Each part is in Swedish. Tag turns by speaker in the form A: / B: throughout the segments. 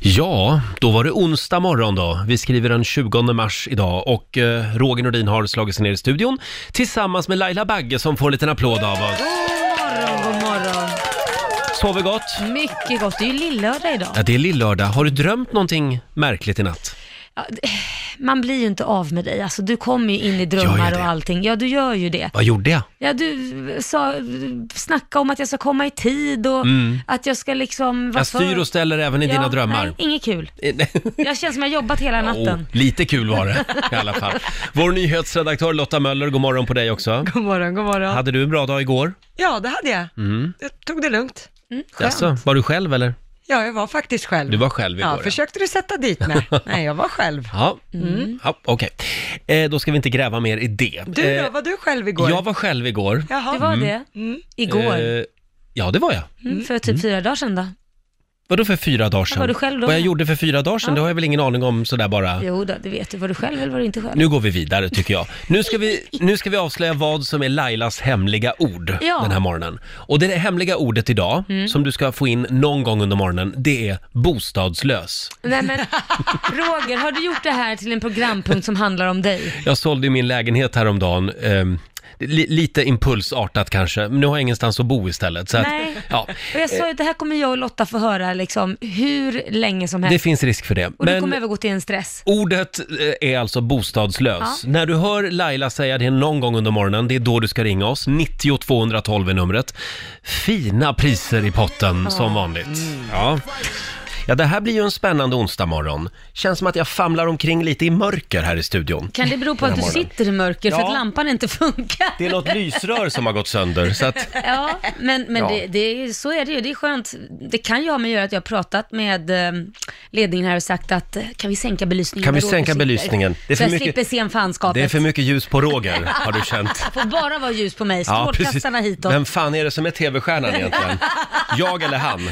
A: Ja, då var det onsdag morgon då. Vi skriver den 20 mars idag och eh, Roger Nordin har slagit sig ner i studion tillsammans med Laila Bagge som får en liten applåd av oss.
B: morgon, god morgon.
A: Sover gott?
B: Mycket gott. Det är ju lillördag idag.
A: Ja, det är lillördag. Har du drömt någonting märkligt i natt?
B: Ja, d- man blir ju inte av med dig. Alltså, du kommer ju in i
A: Gör
B: drömmar
A: jag
B: och
A: det?
B: allting. Ja, du gör ju det.
A: Vad gjorde jag?
B: Ja, du sa, snackade om att jag ska komma i tid och att jag ska liksom... vara
A: Mm. Jag styr
B: för-
A: och ställer även i
B: Ja,
A: dina drömmar.
B: Nej, inget kul.
A: Nej.
B: Jag känns som jag har jobbat hela natten.
A: lite kul var det i alla fall. Vår nyhetsredaktör Lotta Möller, god morgon på dig också.
C: God morgon, god morgon.
A: Hade du en bra dag igår?
C: Ja, det hade jag.
A: Mm.
C: Jag tog det lugnt.
B: Mm.
A: Jaså, var du själv eller?
C: Ja, jag var faktiskt själv.
A: Du var själv igår.
C: ja, försökte du sätta dit mig? Nej, jag var själv.
A: Ja,
C: Mm.
A: Mm. ja okej. Eh, då ska vi inte gräva mer i det.
C: Du
A: Eh,
C: då, var du själv igår?
A: Jag var själv igår.
C: Jaha.
B: Det var det.
C: Mm.
B: Igår.
A: Eh, ja, det var jag.
B: Mm, för typ fyra dagar sedan då.
A: Vadå för fyra dagar sedan?
B: var du själv då?
A: Vad jag gjorde för fyra dagar sedan,
B: Ja.
A: det har jag väl ingen aning om sådär bara.
B: Jo då, det vet du. Var du själv eller var du inte själv?
A: Nu går vi vidare tycker jag. Nu ska vi, nu ska vi avslöja vad som är Lailas hemliga ord
B: Ja. Mm.
A: den här morgonen. Och det hemliga ordet idag, som du ska få in någon gång under morgonen, det är bostadslös.
B: Nej men, Roger, har du gjort det här till en programpunkt som handlar om dig?
A: Jag sålde ju min lägenhet häromdagen. ehm, li- lite impulsartat kanske, men nu har jag ingenstans att bo istället. Så att,
B: Nej.
A: ja.
B: Och jag sa ju, det här kommer jag och Lotta få höra liksom hur länge som
A: Det
B: helst.
A: finns risk för det.
B: Och du
A: Men
B: kommer övergå till en stress.
A: ordet eh, är alltså bostadslös. När du hör Laila säga det någon gång under morgonen, det är då du ska ringa oss. 90 212 är numret. Fina priser i potten som vanligt. Ja. ja, det här blir ju en spännande onsdag morgon. Känns som att jag famlar omkring lite i mörker här i studion.
B: Kan det bero på att du
A: morgonen.
B: sitter i mörker för
A: Ja.
B: att lampan inte funkar?
A: Det är något lysrör som har gått sönder, så att...
B: Ja, men, men
A: Ja.
B: Det, det, är- så är det ju. Det är skönt. Det kan ju ha med att göra att jag har pratat med eh, ledningen här och sagt att eh, kan vi sänka belysningen?
A: Kan vi
B: när Roger
A: sänka
B: sitter?
A: belysningen? Det är
B: så
A: för
B: jag
A: mycket-
B: slipper se en fanskapet.
A: Det är för mycket ljus på Roger, har du känt.
B: Får bara vara ljus på mig, strålkastarna hitåt.
A: Vem fan är det som är tv-stjärnan egentligen? Jag eller han?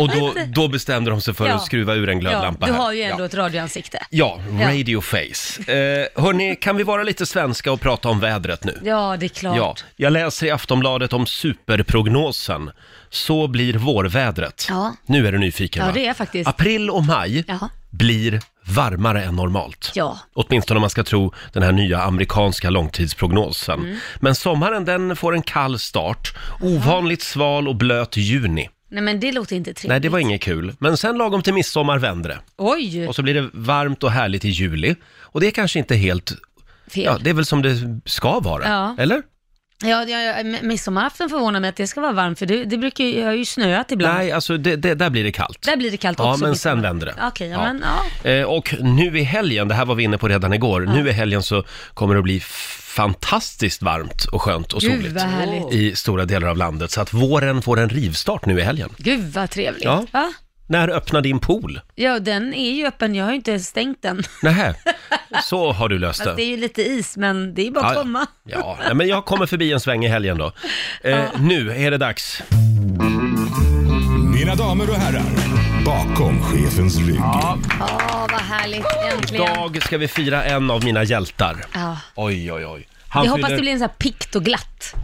A: Och då, då bestämde de sig för
B: Ja.
A: att skruva ur en glödlampa
B: ja, du
A: här.
B: har ju ändå
A: ja.
B: ett radioansikte.
A: Ja, radio face. Eh, hörni, kan vi vara lite svenska och prata om vädret nu?
B: Ja, det är klart.
A: Ja, jag läser i Aftonbladet om superprognosen. Så blir vårvädret.
B: Ja.
A: Nu är du nyfiken
B: Ja,
A: va?
B: det är jag faktiskt.
A: April och maj
B: Ja.
A: blir varmare än normalt.
B: Ja.
A: Åtminstone om man ska tro den här nya amerikanska långtidsprognosen.
B: Mm.
A: Men sommaren den får en kall start. Ovanligt sval och blöt juni.
B: Nej, men det låter inte trevligt.
A: Nej, det var inget kul. Men sen lagom till midsommar vänder det.
B: Oj,
A: Och så blir det varmt och härligt i juli. Och det är kanske inte helt...
B: fel.
A: Ja, det är väl som det ska vara.
B: Ja.
A: Eller?
B: Ja, ja, ja, m- midsommarafton förvånar mig att det ska vara varmt, för det, det brukar ju, jag har ju snöat ibland.
A: Nej, alltså det, det, där blir det kallt.
B: Där blir det kallt
A: Ja,
B: också.
A: men
B: midsommar.
A: sen vänder det.
B: Okej, ja, men ja.
A: Eh, Och nu i helgen, det här var vi inne på redan igår, nu i helgen så kommer det att bli fantastiskt varmt och skönt och
B: Gud,
A: soligt
B: vad härligt.
A: i stora delar av landet. Så att våren får en rivstart nu i helgen.
B: Gud vad trevligt.
A: Ja.
B: Ja. Va?
A: När öppnar din pool?
B: Ja, den är ju öppen. Jag har ju inte stängt den.
A: Nähä, så har du löst
B: Fast det är
A: det.
B: ju lite is, men det är bara att komma.
A: Ja, ja, men jag kommer förbi en sväng i helgen då. Eh, nu är det dags. Mm.
D: Mina damer och herrar, bakom chefens rygg.
B: Åh, vad härligt. Äntligen.
A: Idag ska vi fira en av mina hjältar.
B: Ja.
A: Oj, oj, oj.
B: Jag
A: Han
B: hoppas
A: fyller-
B: det blir en sån här pikt och glatt.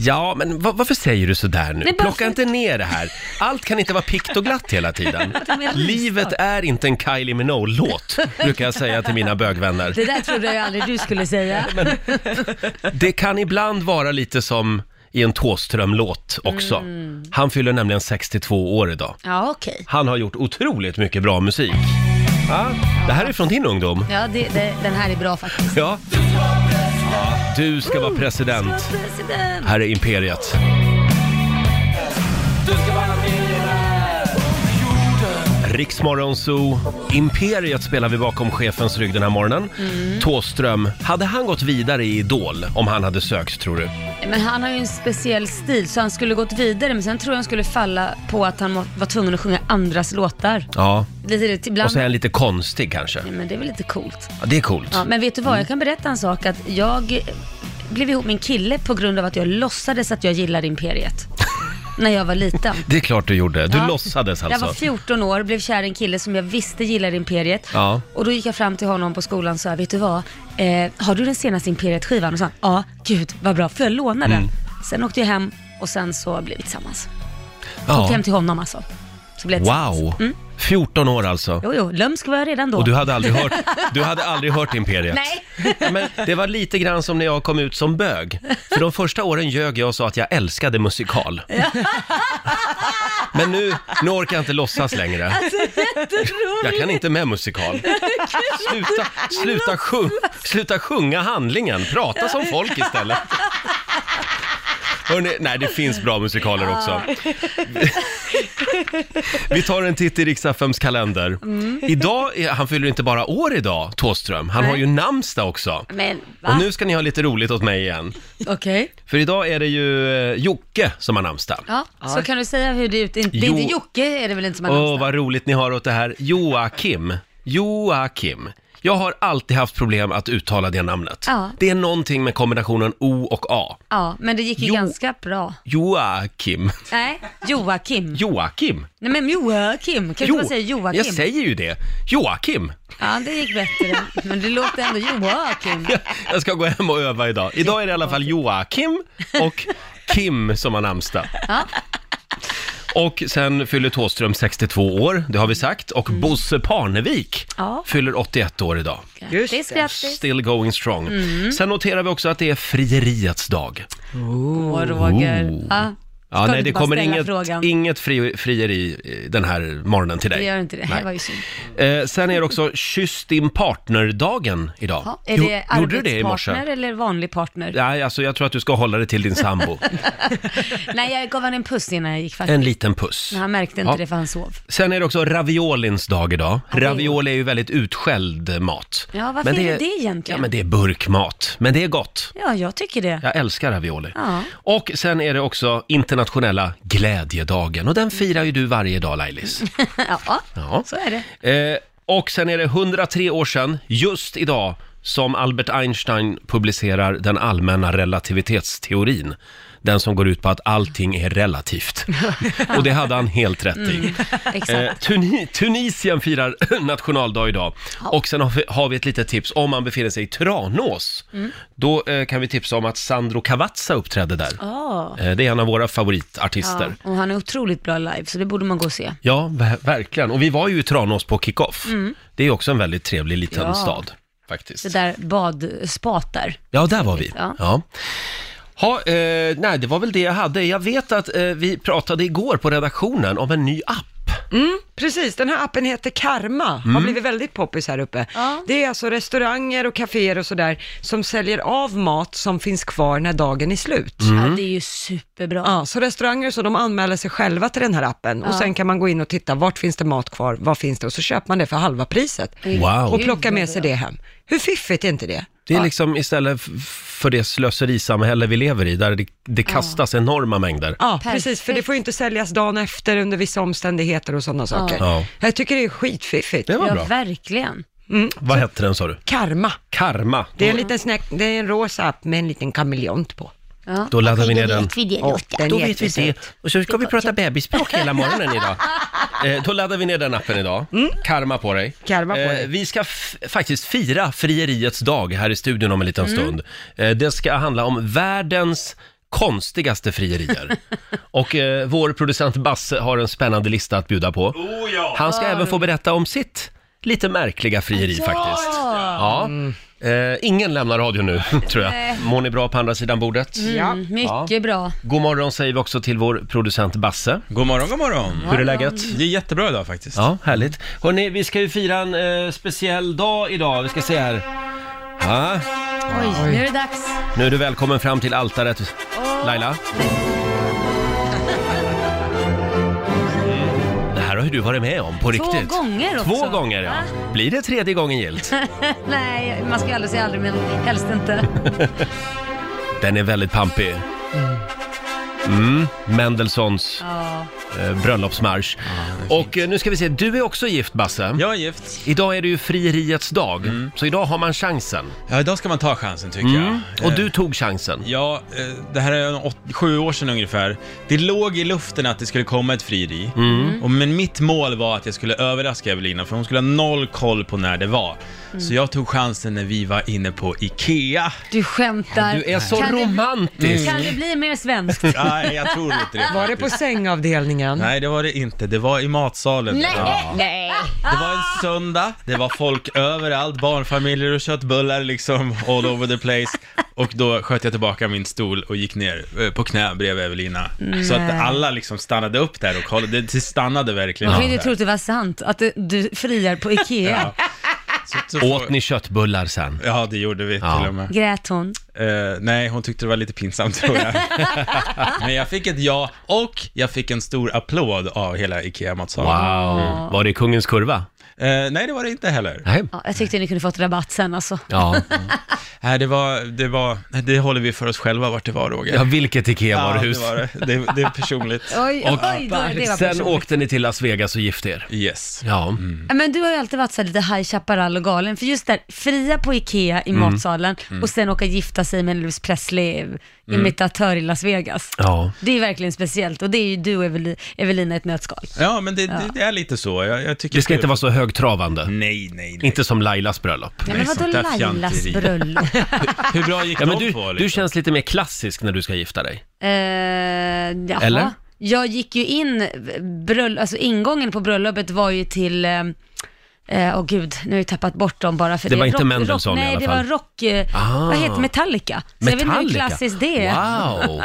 A: Ja, men va- varför säger du sådär nu?
B: Nej, bara
A: Plocka
B: för-
A: inte ner det här. Allt kan inte vara pikt och glatt hela tiden.
B: är mer
A: Livet är inte en Kylie Minogue-låt, brukar jag säga till mina bögvänner.
B: Det där trodde jag ju aldrig du skulle säga.
A: Det kan ibland vara lite som i en Thåström-låt också. Han fyller nämligen 62 år idag.
B: Ja, Mm. okej.
A: Han har gjort otroligt mycket bra musik. Ja, det här är från din ungdom.
B: Ja, det, det, den här är bra faktiskt.
A: Ja. Du ska vara president.
B: President.
A: Här är Imperiet. Riksmorgon Zoo, Imperiet spelar vi bakom chefens rygg den här morgonen.
B: Mm.
A: Thåström, hade han gått vidare i Idol om han hade sökt tror du?
B: Men han har ju en speciell stil, så han skulle gått vidare, men sen tror jag han skulle falla på att han må- var tvungen att sjunga andras låtar.
A: Ja,
B: Lite det,
A: och
B: ibland.
A: så är han lite konstig kanske.
B: Ja, Men det är väl lite coolt.
A: Ja, det är coolt.
B: Ja, men vet du vad, jag kan berätta en sak. Att jag blev ihop med en kille på grund av att jag låtsades att jag gillade Imperiet. när jag var liten.
A: Det är klart du gjorde. Du
B: Ja.
A: låtsades
B: Jag var
A: alltså.
B: 14 år, blev kär i en kille som jag visste gillade Imperiet.
A: Ja.
B: Och då gick jag fram till honom på skolan och sa, vet du vad? Eh, har du den senaste Imperiet-skivan? Och sa han, ja, gud vad bra, får jag låna
A: Mm.
B: den? Sen åkte jag hem och sen så blev vi tillsammans. Åkte
A: Ja.
B: hem till honom alltså. Så blev jag tillsammans.
A: Wow! 14 år alltså.
B: Jo, jo, lömsk var jag redan då.
A: Och du hade aldrig hört, du hade aldrig hört Imperiet?
B: Nej.
A: Ja, Men det var lite grann som när jag kom ut som bög. För de första åren ljög jag och sa att jag älskade musikal. Men nu, nu orkar jag inte låtsas längre. Jag kan inte med musikal. Sluta, sluta, sjung, sluta sjunga handlingen, prata som folk istället. Hörrni, nej, det finns bra musikaler också. Vi tar en titt i Riks-FMs kalender.
B: Mm.
A: Idag, är- han fyller inte bara år idag, Thåström. Han har ju namnsdag också.
B: Men va?
A: Och nu ska ni ha lite roligt åt mig igen.
B: Okej.
A: För idag är det ju eh, Jocke som har namnsdag.
B: Ja, så kan du säga hur det är ute. Det är
A: Jo.
B: inte Jocke är det väl inte som har
A: Åh,
B: namnsdag?
A: vad roligt ni har åt det här. Joakim. Joakim. Jag har alltid haft problem att uttala det namnet.
B: Ja.
A: Det är någonting med kombinationen O och A.
B: Ja, men det gick ju
A: Jo.
B: ganska bra.
A: Joakim.
B: Nej, Joakim.
A: Joakim.
B: Nej men Joakim, kan du inte bara säga Joakim?
A: jag säger ju det. Joakim.
B: Ja, det gick bättre. Men det låter ändå Joakim.
A: Jag, jag ska gå hem och öva idag. Idag är det i alla fall Joakim och Kim som har namnsdag.
B: Ja.
A: Och sen fyller Thåström 62 år, det har vi sagt. Och
B: Mm.
A: Bosse Parnevik
B: Ja.
A: fyller 81 år idag.
C: Just
B: Grattis,
C: det.
B: grattis. Mm.
A: Still going strong. Sen noterar vi också att det är frieriets dag.
B: Åh, Roger. Ja.
A: Ja,
B: Ska
A: nej,
B: du
A: det
B: bara
A: kommer
B: ställa
A: inget,
B: frågan?
A: inget fri, frieri eh, den här morgonen till dig.
B: Det gör inte det. Det
A: Nej.
B: var ju synd.
A: Eh, sen är det också kyss din partner-dagen idag.
B: Ja, är
A: Jo,
B: det
A: gjorde du det i morse?
B: arbetspartner eller vanlig partner?
A: Nej, alltså jag tror att du ska hålla det till din sambo.
B: Nej, jag gav honom en puss innan jag gick faktiskt.
A: En liten puss.
B: Men han märkte inte
A: Ja.
B: det för han sov.
A: Sen är det också raviolins dag idag.
B: Ravioli.
A: Ravioli är ju väldigt utskälld mat.
B: Ja, varför är det det egentligen?
A: Ja, men det är burkmat. Men det är gott.
B: Ja, jag tycker det.
A: Jag älskar ravioli.
B: Ja.
A: Och sen är det också internationella glädjedagen. Och den firar ju du varje dag, Lailis.
B: Ja,
A: Ja.
B: så är det.
A: Eh, och sen är det 103 år sedan, just idag, som Albert Einstein publicerar den allmänna relativitetsteorin. Den som går ut på att allting är relativt. Och det hade han helt rätt i. Eh,
B: Mm. Exakt.
A: Tuni- Tunisien firar nationaldag idag. Och sen har vi, har vi ett litet tips. Om man befinner sig i Tranås,
B: Mm.
A: då eh, kan vi tipsa om att Sandro Cavazza uppträdde där.
B: Ja.
A: Eh, det är en av våra favoritartister.
B: Ah. Ja, och han är otroligt bra live, så det borde man gå och se.
A: Ja, ver- verkligen. Och vi var ju i Tranås på kick-off.
B: Mm.
A: Det är också en väldigt trevlig liten
B: Ja.
A: stad,
B: Det
A: faktiskt.
B: där badspat där.
A: Ja, där var vi. Ja.
B: Ja.
A: Ha, eh, nej, det var väl det jag hade. Jag vet att eh, vi pratade igår på redaktionen om en ny app.
C: Mm, Precis, den här appen heter Karma,
A: Mm.
C: har blivit väldigt poppis här uppe.
B: Ja.
C: Det är alltså restauranger och kaféer och sådär som säljer av mat som finns kvar när dagen är slut.
A: Mm.
B: Ja, det är ju superbra.
C: Ja, så restauranger så de anmäler sig själva till den här appen och sen kan man gå in och titta, vart finns det mat kvar, vad finns det och så köper man det för halva priset
A: Wow.
C: och plockar med sig det hem. Hur fiffigt är inte det?
A: Det är liksom istället f- för det slöserisamhälle vi lever i, där det, det kastas enorma mängder.
C: Ja,
B: Perfekt.
C: precis, för det får ju inte säljas dagen efter under vissa omständigheter och sådana saker.
A: Ja.
C: Jag tycker det är skitfiffigt.
A: Det var
B: ja,
A: bra.
B: verkligen.
A: Vad hette den, sa du?
C: Mm. Karma,
A: Karma.
C: det är en liten snack, det är en rosa app med en liten kameleont på.
B: Ja.
A: Då laddar vi ner den.
B: vi det
C: Ja, den
A: Då
C: är
A: vet vi det.
C: jättesöt.
A: Och så ska vi prata bebisspråk hela morgonen idag. Eh, då laddar vi ner den appen idag. Karma på dig.
C: Mm.
A: Eh,
C: Karma på dig.
A: vi ska f- faktiskt fira frieriets dag här i studion om en liten
C: Mm.
A: stund. Eh, det ska handla om världens konstigaste frierier. Och eh, vår producent Basse har en spännande lista att bjuda på. Han ska även få berätta om sitt lite märkliga frieri faktiskt. Ja.
C: Mm.
B: Mm,
A: Eh, ingen lämnar radion nu, tror jag. Mår ni bra på andra sidan bordet?
C: Ja.
B: Mm, mycket bra.
A: God morgon säger vi också till vår producent Basse.
E: God morgon, god morgon.
A: Hur är läget?
E: Det är jättebra idag faktiskt.
A: Ja, härligt. Hörrni, vi ska ju fira en eh, speciell dag idag. Vi ska se här. Ja,
B: Oj, nu är det dags.
A: nu är du välkommen fram till altaret, Laila. Det här har ju du varit med om på riktigt.
B: gånger också.
A: Två gånger, ja.
B: Va?
A: Blir det tredje gången gillt?
B: Nej, man ska ju aldrig säga aldrig, men helst inte.
A: Den är väldigt pampig. Mm, Mendelssohns eh, bröllopsmarsch. Och eh, nu ska vi se, du är också gift Basse.
E: Jag är gift. Mm.
A: Idag är det ju frieriets dag, så idag har man chansen.
E: Ja, idag ska man ta chansen tycker jag.
A: Mm. Och
E: Eh,
A: du tog chansen.
E: Ja, eh, det här är en åt, sju år sedan ungefär. Det låg i luften att det skulle komma ett frieri.
A: Mm.
E: Och, men mitt mål var att jag skulle överraska Evelina, för hon skulle ha noll koll på när det var.
B: Mm.
E: Så jag tog chansen när vi var inne på IKEA.
B: Du skämtar.
A: Du är så
B: Kan det-
A: romantisk!
B: Kan det bli mer svenskt?
E: Nej, Mm. jag tror inte det
C: Var det på
E: faktiskt.
C: sängavdelningen? ingen.
E: Nej, det var det inte. Det var i matsalen. Ja.
F: Nej.
E: Det var en söndag, det var folk överallt, barnfamiljer och köttbullar liksom all over the place. Och då sköt jag tillbaka min stol och gick ner eh, på knä bredvid Evelina. Så att alla liksom stannade upp där och kollade, det stannade verkligen.
B: Man kan
E: upp
B: ju
E: där.
B: inte tro att det var sant, att det- du friar på Ikea.
E: Så- så-
A: Åt ni köttbullar sen?
E: Ja, det gjorde vi
A: Ja.
E: till och med.
B: Grät hon?
E: Eh, nej, hon tyckte det var lite pinsamt tror jag. Men jag fick ett ja och jag fick en stor applåd av hela IKEA-matsalen. Mm.
A: Wow. Var det Kungens Kurva?
E: Eh, nej, det var det inte heller.
A: Nej.
B: Ja, jag tyckte ni kunde fått rabatt sen alltså.
A: Ja.
E: Nej, det var, det var, det håller vi för oss själva vart det var Roger.
A: ja, vilket Ikea-varuhus.
E: det var det. Det, det är personligt.
B: Oj,
A: Och
B: oj, då, det var
A: sen
B: personligt.
A: åkte ni till Las Vegas och gifte er.
E: Yes. Mm.
A: Ja.
B: Ja, Men du har ju alltid varit så här lite High Chaparral och galen, för just där, fria på Ikea i matsalen och sen åka gifta sig med en Elvis Presley-imitatör i Las Vegas.
A: ja.
B: Det är verkligen speciellt och det är ju du och Eveli- Evelina ett nötskal.
E: Ja, men det, det, det är lite så. Jag, jag tycker
A: Det ska
E: kul.
A: inte vara så högtravande.
E: Nej, nej, nej.
A: Inte som Lailas bröllop.
B: Ja,
E: Nej,
B: men vadå
E: sånt där
B: Lailas
E: fjanteri.
B: bröllop?
E: Hur bra gick
A: Ja, men
E: de
A: du,
E: på?
A: du
E: Liksom?
A: känns lite mer klassisk när du ska gifta dig.
B: Eh, jaha.
A: Eller?
B: Jag gick ju in, bröll, alltså ingången på bröllopet var ju till, eh, eh, åh gud, nu har jag ju tappat bort dem bara för
A: Det
B: det.
A: var inte
B: rock,
A: Mendelssohn
B: rock,
A: i
B: nej,
A: alla
B: det
A: fall.
B: var rock, eh,
A: Ah.
B: vad heter Metallica? Så jag vet inte hur klassiskt det är.
A: Wow!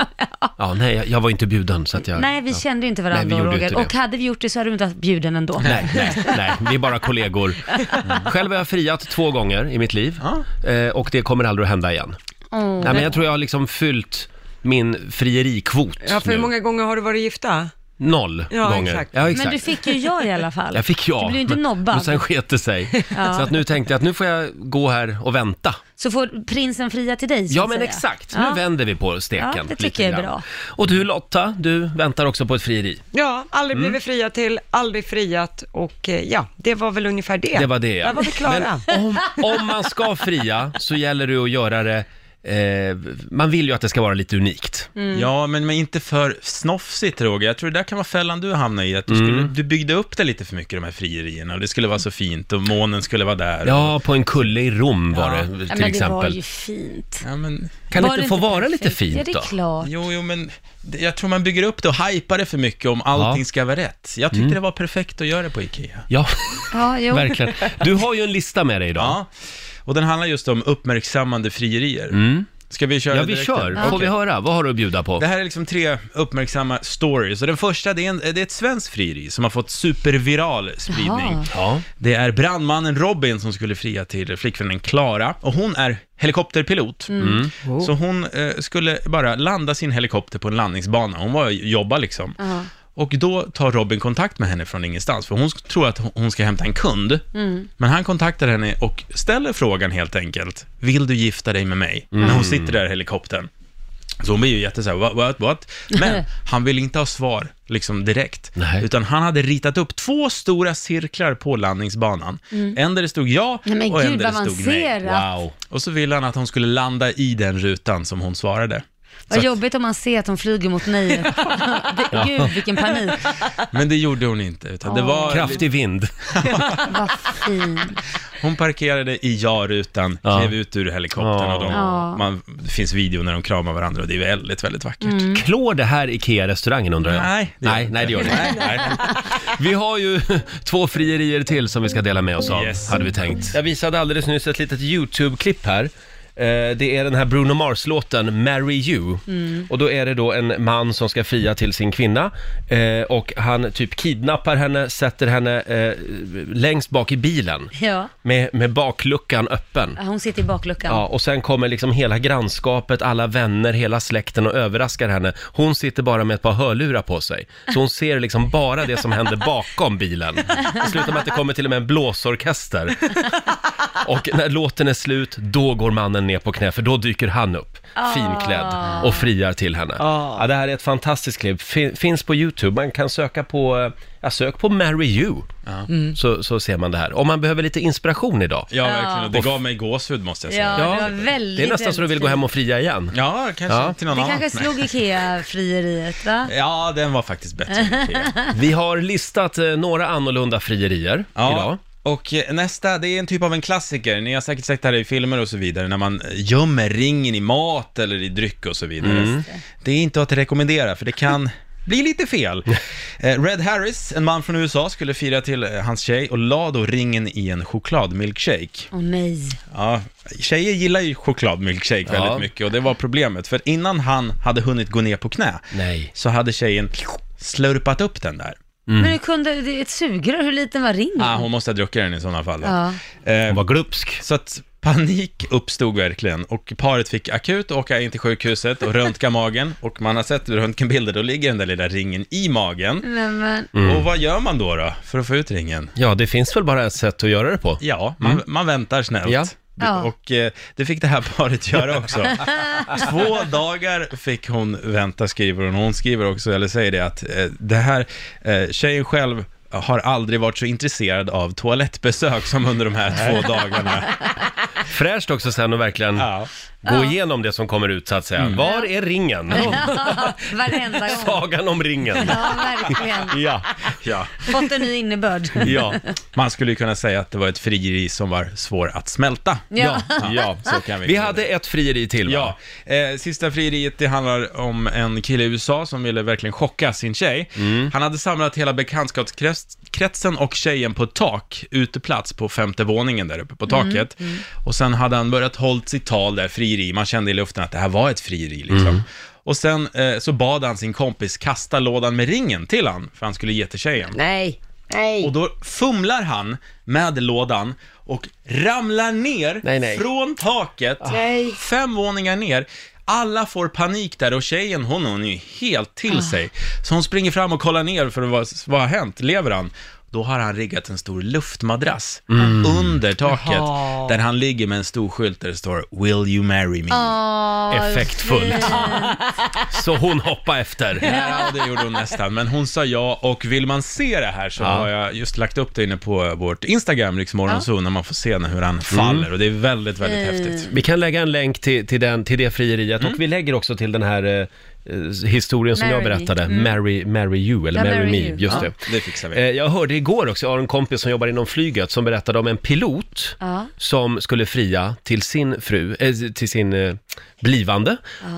A: Ja, nej, jag- jag var inte bjuden så att jag...
B: Nej, vi
A: ja.
B: kände ju inte
A: Nej, vi
B: varandra
A: gjorde ju
B: Roger.
A: inte det.
B: Och hade vi gjort det så hade du inte varit bjuden ändå.
A: Nej, nej, nej, vi är bara kollegor. Mm. Själv har jag friat två gånger i mitt liv eh, och det kommer aldrig att hända igen.
C: Mm.
A: Nej, men jag tror jag har liksom fyllt min frierikvot
C: Ja, för hur
A: nu.
C: många gånger har du varit gifta?
A: Noll
C: Ja,
A: gånger.
C: exakt.
A: Ja, exakt.
B: Men du fick ju ja i alla fall.
A: Jag fick ja.
B: Du blev ju inte
A: men- Men
B: nobbad.
A: sen sket det sig. Så att nu tänkte jag att nu får jag gå här och vänta.
B: Så får prinsen fria till dig, så
A: Ja
B: att
A: men
B: säga.
A: exakt,
B: Ja.
A: nu vänder vi på steken.
B: Ja, det tycker
A: lite
B: jag är
A: grann.
B: bra.
A: Och du Lotta, du väntar också på ett frieri.
C: Ja, aldrig
A: Mm.
C: blivit fria till, aldrig friat och eh, ja, det var väl ungefär det.
A: Det var det ja.
C: Där var vi klara.
A: Men om, om man ska fria så gäller det att göra det Eh, man vill ju att det ska vara lite unikt.
B: Mm.
E: Ja, men, men inte för snofsigt Roger. Jag tror det där kan vara fällan du hamnar i. Att du, skulle,
A: Mm.
E: du byggde upp det lite för mycket, de här frierierna. Och det skulle vara så fint och månen skulle vara där.
A: Ja, på en kulle i Rom var det till
B: Ja, men det var
A: exempel.
B: ju fint.
E: Ja, men,
A: Kan det
B: Var
A: inte få vara
B: perfekt?
A: lite fint
B: Ja, det
A: då?
B: är klart.
E: jo, jo, men det- jag tror man bygger upp det och hypar det för mycket om allting
A: Ja. Mm.
E: ska vara rätt. Jag tyckte det var perfekt att göra det på Ikea.
A: Ja,
B: Ja, jo.
A: verkligen. Du har ju en lista med dig idag.
E: Ja, och den handlar just om uppmärksammande frierier. Ska vi köra
A: Mm. Ja,
E: det
A: vi
E: direkt?
A: kör. Får vi höra? Vad har du att bjuda på?
E: Det här är liksom tre uppmärksamma stories. Och den första, det är, en, det är ett svenskt frieri som har fått superviral spridning.
B: Jaha.
A: Ja.
E: Det är brandmannen Robin som skulle fria till flickvännen Klara. Och hon är helikopterpilot.
B: Mm.
A: Mm.
B: Oh.
E: Så hon eh, skulle bara landa sin helikopter på en landningsbana. Hon var jobba liksom.
B: Ja.
E: Och då tar Robin kontakt med henne från ingenstans, för hon sk- tror att hon- hon ska hämta en kund.
B: Mm.
E: Men han kontaktar henne och ställer frågan helt enkelt, vill du gifta dig med mig? När
B: Mm.
E: hon sitter där i helikoptern. Så hon blir ju jättesåhär, what, what, what? Men han vill inte ha svar liksom direkt.
A: Nej.
E: Utan han hade ritat upp två stora cirklar på landningsbanan. En där det stod ja
B: Mm. Nej, men
E: och en
B: gud,
E: där
B: vad
E: det stod nej.
B: avancerat.
A: Wow.
E: Och så vill han att hon skulle landa i den rutan som hon svarade. Så
B: Vad
E: att-
B: jobbigt om man ser att de flyger mot nej. Det- Gud, vilken panik.
E: Men det gjorde hon inte. Utan det var
A: Kraftig vind.
B: Vad fint.
E: Hon parkerade i ja-rutan,
A: Ja.
E: klev ut ur helikoptern
A: Ja.
E: och de,
B: Ja.
E: man, det finns video när de kramar varandra och det är väldigt, väldigt vackert.
A: Klår det här IKEA-restaurangen undrar jag?
E: Nej, det gör
A: Mm. nej,
E: det
A: nej, det gör det inte.
E: Nej, nej.
A: Vi har ju två frierier till som vi ska dela med oss av,
E: Yes.
A: hade vi tänkt. Jag visade alldeles nyss ett litet YouTube-klipp här. Eh, Det är den här Bruno Mars-låten “Marry You” och då är det då en man som ska fria till sin kvinna eh, och han typ kidnappar henne, sätter henne eh, längst bak i bilen
B: Ja,
A: med, med bakluckan öppen.
B: hon sitter i bakluckan.
A: Ja, och sen kommer liksom hela grannskapet, alla vänner, hela släkten och överraskar henne. Hon sitter bara med ett par hörlurar på sig. Så hon ser liksom bara det som händer bakom bilen. Det slutar med att det kommer till och med en blåsorkester. Och när låten är slut, då går mannen ner på knä, för då dyker han upp, finklädd, och friar till henne.
E: Ah.
A: Ja, det här är ett fantastiskt klipp. Fin- finns på YouTube. Man kan söka på, eh, ja, sök på “Marry You”, så, så ser man det här. Om man behöver lite inspiration idag.
E: Ja, verkligen. Och det gav mig gåshud måste jag säga.
B: Ja, det var väldigt,
A: Det är nästan så du vill gå hem och fria igen.
E: Ja, kanske
A: Ja.
E: till någon
B: Det
E: annan.
B: kanske slog Ikea-frieriet, va?
E: Ja, den var faktiskt bättre än Ikea.
A: Vi har listat eh, några annorlunda frierier
E: Ja.
A: idag.
E: Och eh, nästa, det är en typ av en klassiker. Ni har säkert sett det här i filmer och så vidare, när man eh,
A: Mm.
E: gömmer ringen i mat eller i dryck och så vidare. Det är inte att rekommendera, för det kan blir lite fel. Eh, Red Harris, en man från USA, skulle fira till eh, hans tjej och la då ringen i en chokladmilkshake.
B: Åh nej.
E: Ja, tjejer gillar ju chokladmilkshake
A: Ja.
E: väldigt mycket och det var problemet, för innan han hade hunnit gå ner på knä
A: Nej. Mm.
E: så hade tjejen slurpat upp den där.
B: Men hur kunde, det är ett sugrör, hur liten var ringen?
E: Ah, hon måste ha druckit den i sådana fall.
B: Ja.
E: Eh,
A: Hon var glupsk.
E: Så att panik uppstod verkligen och paret fick akut åka in till sjukhuset och röntga magen och man har sett röntgenbilder, då ligger den där lilla ringen i magen.
B: Men, men,
E: Och vad gör man då då för att få ut ringen?
A: Mm. Ja, det finns väl bara ett sätt att göra det på. Mm.
E: Ja, man, man väntar snällt.
A: Ja.
B: Ja.
E: Och eh, det fick det här paret göra också. Två dagar fick hon vänta, skriver hon. Hon skriver också, eller säger det, att eh, det här, eh, tjejen själv har aldrig varit så intresserad av toalettbesök som under de här två dagarna.
A: Fräscht också sen att verkligen
E: Ja. Mm.
A: gå igenom det som kommer ut så att säga. Var är ringen?
B: ja, varenda gång.
A: Sagan om ringen.
B: Ja, verkligen.
A: Ja,
E: Ja.
B: Fått en ny innebörd.
A: ja,
E: Man skulle ju kunna säga att det var ett frieri som var svår att smälta.
A: ja,
B: Ja.
A: ja.
E: Så kan vi
A: Vi hade ett frieri till va?
E: Ja, eh, sista frieriet det handlar om en kille i USA som ville verkligen chocka sin tjej.
A: Mm.
E: Han hade samlat hela bekantskapskretsen och tjejen på ett tak, uteplats på femte våningen där uppe på taket. Och sen hade han börjat hållt sitt tal där, frieri, man kände i luften att det här var ett frieri liksom. Och sen eh, så bad han sin kompis kasta lådan med ringen till han, för han skulle ge till tjejen.
C: Nej.
E: Och då fumlar han med lådan och ramlar ner
A: Nej, nej.
E: från taket, fem våningar ner. Alla får panik där och tjejen, hon, hon är ju helt till sig. Så hon springer fram och kollar ner för vad, vad har hänt? Lever han? Då har han riggat en stor luftmadrass under taket,
C: Jaha.
E: där han ligger med en stor skylt där det står “Will you marry me?”
B: Åh, vad
A: Effektfullt.
B: fint.
A: Så hon hoppade efter.
E: Ja, det gjorde hon nästan, men hon sa ja och vill man se det här så
A: Ja.
E: har jag just lagt upp det inne på vårt Instagram, Riksmorgon så när man får se när- hur han
A: Mm.
E: faller och det är väldigt, väldigt häftigt.
B: Eh.
E: Mm.
A: Vi kan lägga en länk till, till, den, till det frieriet och vi lägger också till den här eh, eh, historien som jag
B: Marry me.
A: berättade, Marry, marry you, eller
B: Mm. Ja,
A: Marry
B: marry
A: me,
B: you.
A: just
E: Ja,
A: det.
E: det fixar vi.
A: Eh, Jag hörde igår också, jag har en kompis som jobbar inom flyget som berättade om en pilot
B: Ja.
A: som skulle fria till sin fru, eh, till sin eh, blivande.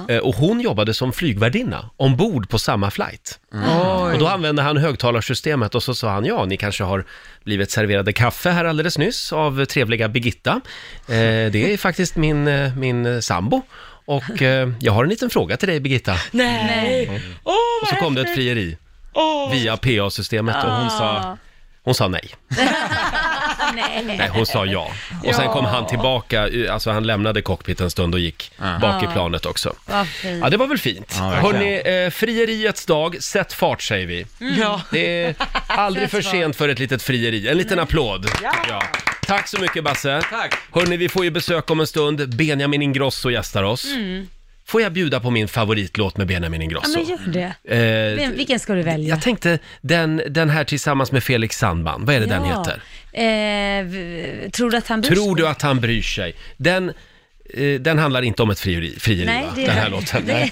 A: Eh, och hon jobbade som flygvärdinna ombord på samma flight.
C: Mm.
A: Och då använde han högtalarsystemet och så sa han ja, ni kanske har blivit serverade kaffe här alldeles nyss av trevliga Birgitta. Eh, det är faktiskt min, eh, min eh, sambo. Och eh, jag har en liten fråga till dig Birgitta.
C: Nej. Åh,
A: Och
C: vad
A: så kom det ett
C: häftigt.
A: frieri
C: Åh. Ah.
A: via PA-systemet och hon sa, hon sa nej. Nej,
B: Nej.
A: hon sa ja. Och sen
B: Ja.
A: kom han tillbaka, eh, alltså han lämnade cockpit en stund och gick bak i planet också.
B: Vad fint.
A: Ja, det var väl fint.
E: Ja, verkligen.
A: Hörni, eh, frieriets dag, sätt fart säger vi.
C: Ja.
A: Det är aldrig
B: Mm. Sätt
A: för
B: fart. Mm.
A: sent för ett litet frieri. En liten applåd. Ja. Tack så mycket Basse.
E: Tack.
A: Hörni, vi får ju besök om en stund. Benjamin Ingrosso gästar oss. Får jag bjuda på min favoritlåt med Benjamin
B: Mm. Ja,
A: Ingrosso?
B: men gör det.
A: Eh,
B: Vem, vilken ska du välja?
A: jag tänkte den, den här tillsammans med Felix Sandman, vad är det den
B: Ja.
A: heter?
B: Eh, v- tror du att han bryr
A: Tror
B: sig?
A: du att han bryr sig? Den, eh, den handlar inte om ett frieri, frieri
B: Nej,
A: va?
B: det-
A: den här låten. Nej.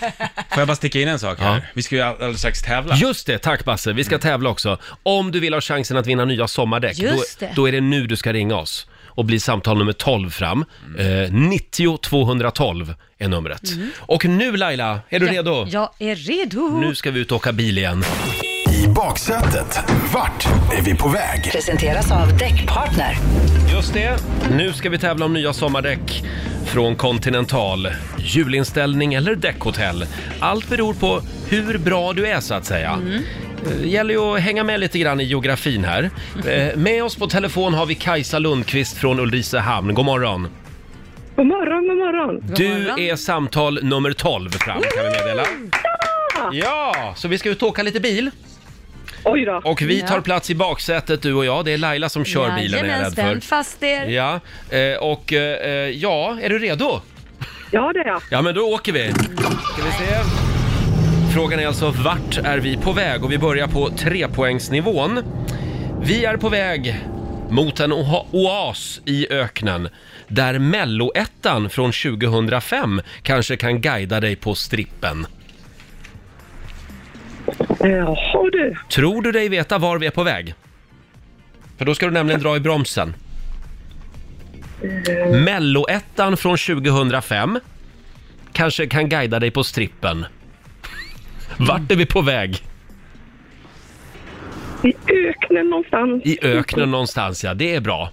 E: Får jag bara sticka in en sak här?
A: Ja.
E: Vi ska ju all- alldeles strax tävla. Mm.
A: Just det, tack Basse. Vi ska tävla också. Om du vill ha chansen att vinna nya sommardäck, då,
B: Just det.
A: då är det nu du ska ringa oss och bli samtal nummer 12 fram.
E: Mm.
A: Eh, 90 212 är numret.
B: Mm.
A: Och nu Laila, är du redo?
B: Jag är redo.
A: Nu ska vi ut och åka bil igen.
D: I baksätet, vart är vi på väg?
F: Presenteras av Däckpartner.
A: Just det, nu ska vi tävla om nya sommardäck från Continental. Julinställning eller däckhotell. Allt beror på hur bra du är så att säga. Det gäller ju att hänga med lite grann i geografin här. Eh, Med oss på telefon har vi Kajsa Lundqvist från Ulricehamn. God morgon!
G: God morgon, god morgon.
A: Du
B: morgon.
A: är samtal nummer 12 fram kan vi meddela. Ja, så vi ska ut och åka lite bil.
G: Oj då.
A: Och vi tar plats i baksätet du och jag. Det är Laila som kör bilen är jag rädd för.
B: Jajamän, fast er.
A: Ja, eh, och eh, ja, är du redo?
G: Ja, det är jag.
A: Ja, men då åker vi. Ska vi se. Frågan är alltså vart är vi på väg? Och vi börjar på trepoängsnivån. Vi är på väg mot en oha- oas i öknen där Melloettan från 2005 kanske kan guida dig på strippen.
G: Jaha du.
A: Tror du dig veta var vi är på väg? För då ska du nämligen dra i bromsen.
B: Mm.
A: Melloettan från 2005 kanske kan guida dig på strippen. Vart är vi på väg?
G: I öknen någonstans.
A: I öknen någonstans, ja. Det är bra.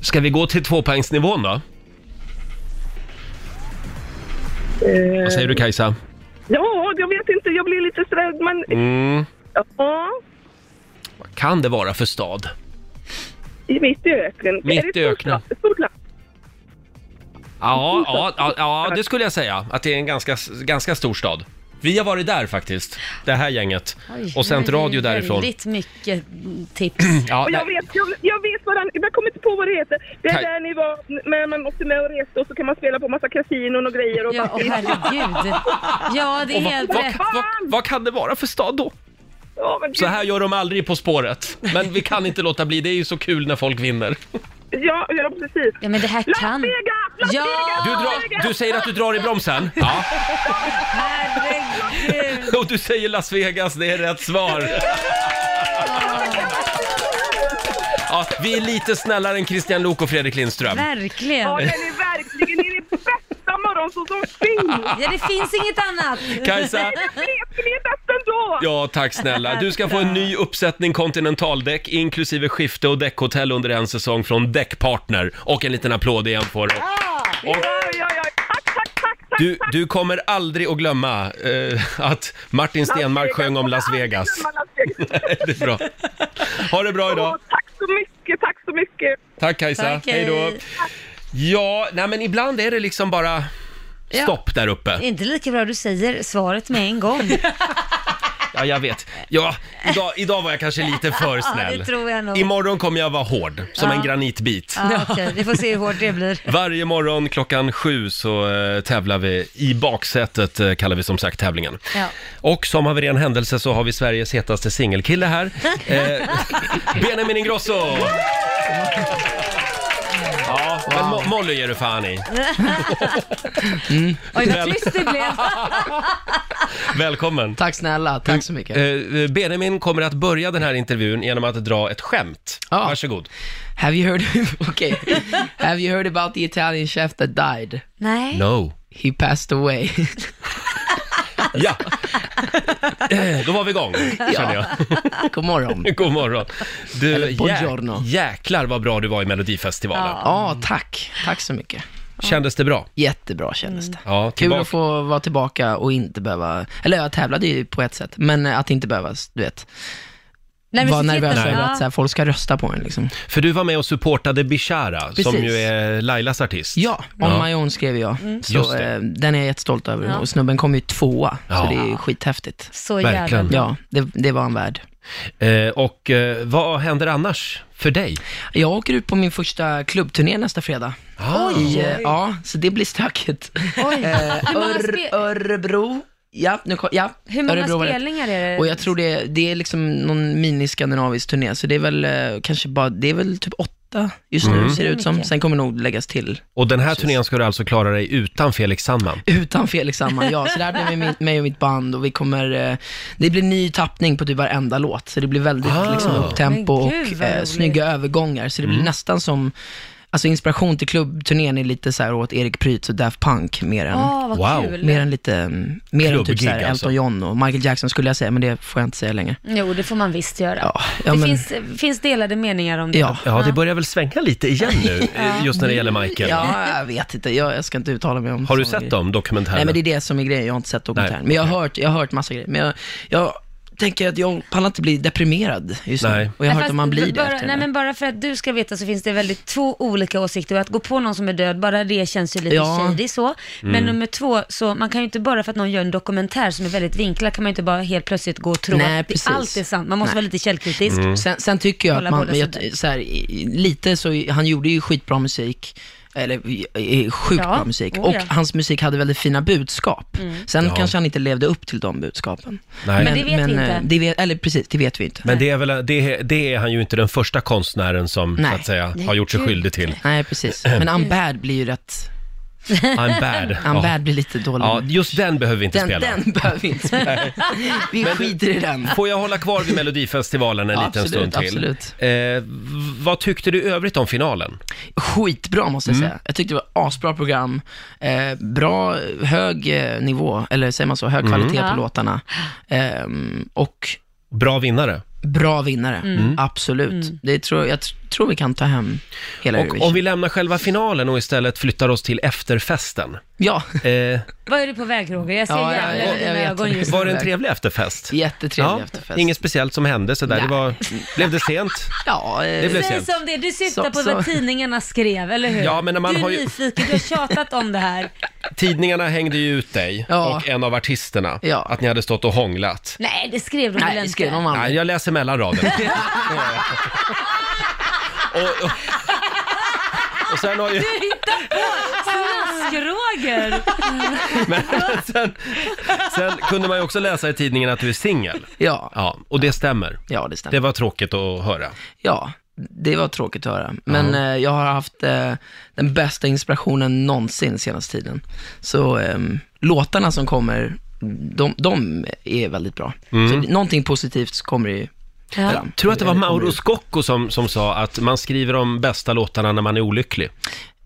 A: Ska vi gå till tvåpoängsnivån då? Vad säger du Kajsa?
G: Eh, Ja, jag vet inte, jag blir lite sådär, men...
A: Mm.
G: Ja,
A: Vad kan det vara för stad?
G: i mitt i öknen.
A: Mitt
G: Är det
A: i
G: ett
A: öknen.
G: stort land- stort land?
A: Ja, ja, ja, ja, det skulle jag säga. Att det är en ganska, ganska stor stad. Vi har varit där faktiskt, det här gänget.
B: Oj,
A: och sänt
B: det är
A: radio därifrån.
B: Väldigt mycket tips.
A: Ja,
G: Och jag
A: nej.
G: vet, jag, jag vet vad den, jag kommer inte på vad det heter. Det är
A: Kaj-
G: där ni var, när man åkte med och reste och så kan man spela på massa kasinon och grejer. Och
B: Ja, åh, herregud. Ja, det är
A: Och vad,
B: helt
A: vad,
B: rätt.
A: vad, vad kan det vara för stad då?
G: ja, men,
A: Så här gör de aldrig På spåret. Men vi kan inte låta bli, det är ju så kul när folk vinner.
G: Ja, ja precis.
B: Ja, men det här
G: Las
B: kan...
G: Vegas! Las
B: Ja!
G: Vegas!
A: Du,
G: Las
A: drar,
G: Vegas!
A: du säger att du drar i bromsen? Ja.
B: Herregud.
A: Och du säger Las Vegas, det är rätt svar. Ja, vi är lite snällare än Christian Lok och Fredrik Lindström.
B: Verkligen.
G: Ja, den är verkligen ni är det bästa morgonsås som finns!
B: Ja, det finns inget annat.
A: Kajsa,
G: Vet ni är bäst ändå!
A: ja tack snälla. Du ska få en ny uppsättning kontinentaldäck inklusive skifte och däckhotell under en säsong från Däckpartner. Och en liten applåd igen får du.
G: Ja, ja, ja. Tack, tack, tack, tack!
A: Du, du kommer aldrig att glömma eh, att Martin
G: Las
A: Stenmarck
G: Vegas.
A: sjöng om Las
G: Jag
A: Vegas.
G: kommer aldrig glömma Las Vegas.
A: Det är bra. Ha det bra idag.
G: Åh, Tack så mycket, tack så mycket!
A: Tack Kajsa,
B: Tack, hej.
A: hej då. Ja, nej men ibland är det liksom bara
B: Ja.
A: stopp där uppe.
B: Inte lika bra du säger svaret med en gång.
A: Ja, jag vet. Ja, idag, idag var jag kanske lite för snäll.
B: det tror jag nog.
A: Imorgon kommer jag vara hård, som en granitbit.
B: Ja, okej. Vi får se hur hårt det blir.
A: Varje morgon klockan sju så eh, tävlar vi. I baksätet eh, kallar vi som sagt tävlingen.
B: Ja.
A: Och som av en ren händelse så har vi Sveriges hetaste singelkille här. Eh, Benjamin Ingrosso! Ja, men Mo- Molly ger du fan i.
B: Mm. Oj, vad tyst det blev.
A: Välkommen!
H: Tack snälla, tack så mycket.
A: Eh, Benjamin kommer att börja den här intervjun genom att dra ett skämt.
H: Ja.
A: Varsågod.
H: Have you heard, okay. Have you heard about the Italian chef that died?
B: Nej.
A: No.
H: He passed away.
A: Ja. Eh, Då var vi igång, känner jag.
H: God morgon.
A: God morgon. Du,
H: Eller buongiorno.
A: jä- jäklar vad bra du var i Melodifestivalen.
B: Ja.
H: Ja, tack. Tack så mycket.
A: Kändes det bra?
H: Jättebra kändes det.
A: Mm. Ja,
H: Kul
A: tillbaka-
H: att få vara tillbaka och inte behöva, eller jag tävlade ju på ett sätt, men att inte behöva, du vet,
B: Nej,
H: vara
B: så sitter-
H: nervös
B: Ja.
H: över att så här, folk ska rösta på en liksom.
A: För du var med och supportade Bishara, som
H: Precis.
A: ju är Lailas artist.
H: Ja, On My Own skrev jag.
B: Mm.
A: Just
H: Så,
A: det.
H: eh, den är jag jättestolt över och snubben kom ju tvåa,
A: Ja.
H: så det är skithäftigt.
B: Så jävla
A: Verkligen.
B: bra.
H: Ja, det, det var han värd.
A: Eh, och eh, vad händer annars för dig?
H: Jag åker ut på min första klubbturné nästa fredag.
A: Ah.
H: I, eh, ja, så det blir stökigt.
B: Oj. Hur många,
H: Eh, Ör,
B: spe-
H: Örebro. Ja, nu kom, ja.
B: hur många
H: Örebro var rätt.
B: spelningar är det?
H: Och jag tror det, det är liksom någon mini-skandinavisk turné, så det är väl eh, kanske bara, det är väl typ åtta just
A: Mm.
H: nu ser det ut som. Sen kommer nog läggas till
A: Och den här turnén ska du alltså klara dig utan Felix Sandman.
H: utan Felix Sandman, ja. Så det här blir med mitt- mig och mitt band och vi kommer, eh, det blir ny tappning på typ varenda låt. Så det blir väldigt
A: Ah. Mm.
H: liksom, upptempo
B: Men gud,
H: och
B: vad
H: eh,
B: roligt.
H: snygga övergångar. Så det blir nästan som, alltså inspiration till klubbturnén är lite så här åt Erik Prytz och Daft Punk mer än
B: Åh, Ah, vad
A: Wow.
B: kul.
H: Mer än lite, mm, mer än typ
A: Klubbgig
H: såhär Elton
A: alltså.
H: John och Michael Jackson skulle jag säga, men det får jag inte säga längre.
B: Jo, det får man visst göra.
H: Ja, ja,
B: det
H: men-
B: finns, finns delade meningar om det.
H: Ja.
A: Ja, det börjar väl svänga lite igen nu, eh, just när det gäller Michael.
H: Ja, jag vet inte, jag, jag ska inte uttala mig om
A: Har du
H: såna
A: sett
H: grejer.
A: dem, dokumentären?
H: Mm. Nej men det är det som är grejen, jag har inte sett dokumentären.
A: Nej.
H: Men jag har hört, jag har hört massa grejer. Men jag, jag tänker att jag pallar inte bli deprimerad just
A: Nej.
H: nu. Och jag har
B: Nej,
H: hört
B: fast
H: att man blir det
B: bara,
H: efter
B: Nej,
H: det.
B: men bara för att du ska veta så finns det väldigt två olika åsikter och att gå på någon som är död, bara det känns ju lite
H: Ja. Mm.
B: shady så. Men nummer två, så man kan ju inte bara för att någon gör en dokumentär som är väldigt vinklad, kan man ju inte bara helt plötsligt gå och tro
H: Nej,
B: att
H: precis. Mm.
B: det- allt är sant. Man måste vara lite källkritisk.
H: Sen, sen tycker jag
B: Kolla
H: att man,
B: båda
H: men
B: sidor.
H: jag, så här, i- i- lite så, han gjorde ju skitbra musik, eller i- i- sjukt
B: Ja,
H: bra musik.
B: oh
H: och
B: ja. Mm.
H: hans musik hade väldigt fina budskap. Sen
A: Ja.
H: kanske han inte levde upp till de budskapen.
A: Nej. Men
B: det vet vi inte.
H: eh, Det vet, eller precis, det vet vi inte.
A: Men det är, väl, det, det är han ju inte den första konstnären som
H: Nej.
A: så att säga, har gjort sig skyldig till.
H: Nej, precis. Men
B: Mm.
H: Unbad blir ju rätt,
A: I'm bad.
H: Unbad
A: ja.
H: blir lite dålig.
A: ja, just den behöver vi inte
H: Den,
A: spela.
H: den behöver vi inte spela. Vi skiter i den.
A: Får jag hålla kvar vid Melodifestivalen en liten
H: Absolut,
A: stund till?
H: absolut.
A: Eh, v- vad tyckte du i övrigt om finalen?
H: Skitbra måste
A: Mm.
H: jag säga. Jag tyckte det var asbra program. Eh, bra, hög eh,
A: Mm.
H: nivå, eller säger man så, hög kvalitet på låtarna. Ehm, och
A: Bra vinnare? Mm.
H: bra vinnare. Absolut. Det tror, jag tr- tror vi kan ta hem hela
A: Och om
H: Eurovision.
A: vi lämnar själva finalen och istället flyttar oss till efterfesten.
H: Ja,
A: Eh,
B: Vad är du på väg Roger? Jag ser
H: Ja, jag-
B: jävlar i
H: jag- jag
B: dina
H: vet.
B: ögon just nu.
A: var det en trevlig efterfest?
H: jättetrevlig efterfest.
A: Inget speciellt som hände sådär. Det
H: Nej.
A: var, blev det sent?
H: Ja, eh,
A: Det blev
B: Säg
A: sent.
B: som det är, du syftar
H: Så-
B: på
H: så-
B: vad tidningarna skrev, eller hur?
A: Ja, men när man
B: du är
A: har ju-
B: nyfiken, du har tjatat om det här.
A: Tidningarna hängde ju ut dig
H: Ja.
A: och en av artisterna.
H: Ja.
A: Att ni hade stått och hånglat.
B: Nej, det skrev de väl
H: nej, det
B: inte?
H: skrev de aldrig.
A: Nej, jag läser mellan raderna. och, och, och sen har ju...
B: Du hittar på snask-Roger!
A: Men sen, sen kunde man ju också läsa i tidningen att du är singel.
H: Ja,
A: Ja, och det stämmer.
H: ja, det stämmer.
A: Det var tråkigt att höra.
H: Ja, det var tråkigt att höra. Men eh, jag har haft eh, den bästa inspirationen någonsin senaste tiden. Så eh, låtarna som kommer, de, de är väldigt bra. Så någonting positivt kommer ju fram.
A: Jag Mm. tror att det var
H: Eller kommer
A: Mauro
H: ju-
A: Scocco som, som sa att man skriver de bästa låtarna när man är olycklig.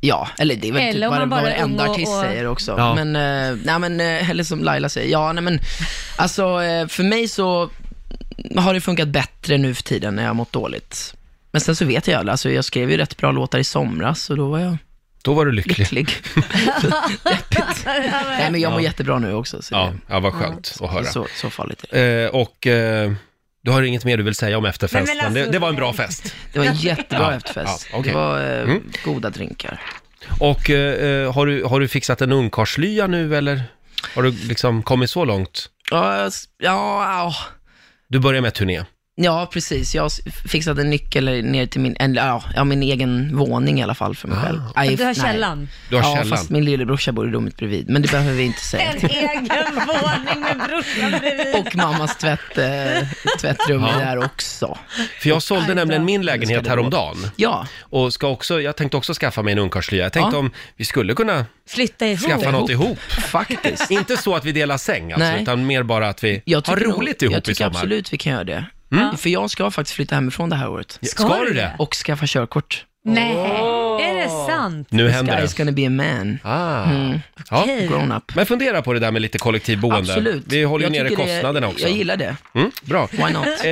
H: Ja, eller det är väl
B: Eller
H: typ
B: om
H: vad
B: man bara
H: vad
B: är
H: varenda
B: ung och-
H: artist
B: och-
H: säger också.
A: Ja.
H: Men, eh, nej, men, eh, eller som Laila säger, ja nej, men alltså eh, för mig så har det funkat bättre nu för tiden när jag har mått dåligt. Men sen så vet jag, alltså jag skrev ju rätt bra låtar i somras och då var jag
A: Då var du lycklig.
H: lycklig. Deppigt. Nej, men jag mår jättebra nu också, så,
A: Ja,
H: det,
A: ja vad skönt att höra.
H: så, så farligt är det.
A: Eh, och eh, du har inget mer du vill säga om efterfesten?
B: Nej, men alltså-
A: det, det var en bra fest.
H: Det var en jättebra
A: Ja,
H: efterfest.
A: ja, okej.
H: Det
A: Mm.
H: var eh, goda drinkar.
A: Och eh, eh, har, du, har du fixat en ungkarlslya nu eller? Har du liksom kommit så långt?
H: Ja, jag s- ja, ja.
A: Du börjar med turné.
H: ja, precis. Jag s- fixade en nyckel ner till min, en, ja, ja, min egen våning i alla fall för mig själv. Nej,
B: Du har
H: nej.
B: källan.
A: Ah. Du har
H: ja,
A: källan.
H: fast min lillebrorsa bor i rummet bredvid, men det behöver vi inte säga.
B: En egen våning med brorsan bredvid.
H: Och mammas tvätt, eh, tvättrum är där också.
A: För jag sålde nämligen min lägenhet
H: Ska det gå?
A: häromdagen.
H: Ja,
A: Och ska också, jag tänkte också skaffa mig en ungkarlslya. Jag tänkte
H: Ja.
A: om vi skulle kunna
B: Flytta ihop.
A: skaffa något ihop.
H: faktiskt.
A: Inte så att vi delar säng alltså,
H: Nej.
A: utan mer bara att vi
H: Jag
A: har
H: tycker nog-
A: roligt ihop
H: Jag
A: i
H: tycker
A: sommar. Mm.
H: absolut vi kan göra det. För jag ska faktiskt flytta hemifrån det här året.
A: Ska,
B: Ska
A: du
B: du
A: det?
H: Och skaffa körkort.
B: Nej, är det sant?
A: Nu händer
H: Guy's
A: det.
H: gonna be a man.
A: Ah.
H: Mm.
A: Ja.
B: Okej.
H: Grown up.
A: Men fundera på det där med lite kollektivboende.
H: Absolut.
A: Vi håller ju
H: Jag
A: nere
H: tycker
A: kostnaderna också.
H: Jag gillar det.
A: Mm, bra.
H: Why not?
A: Eh,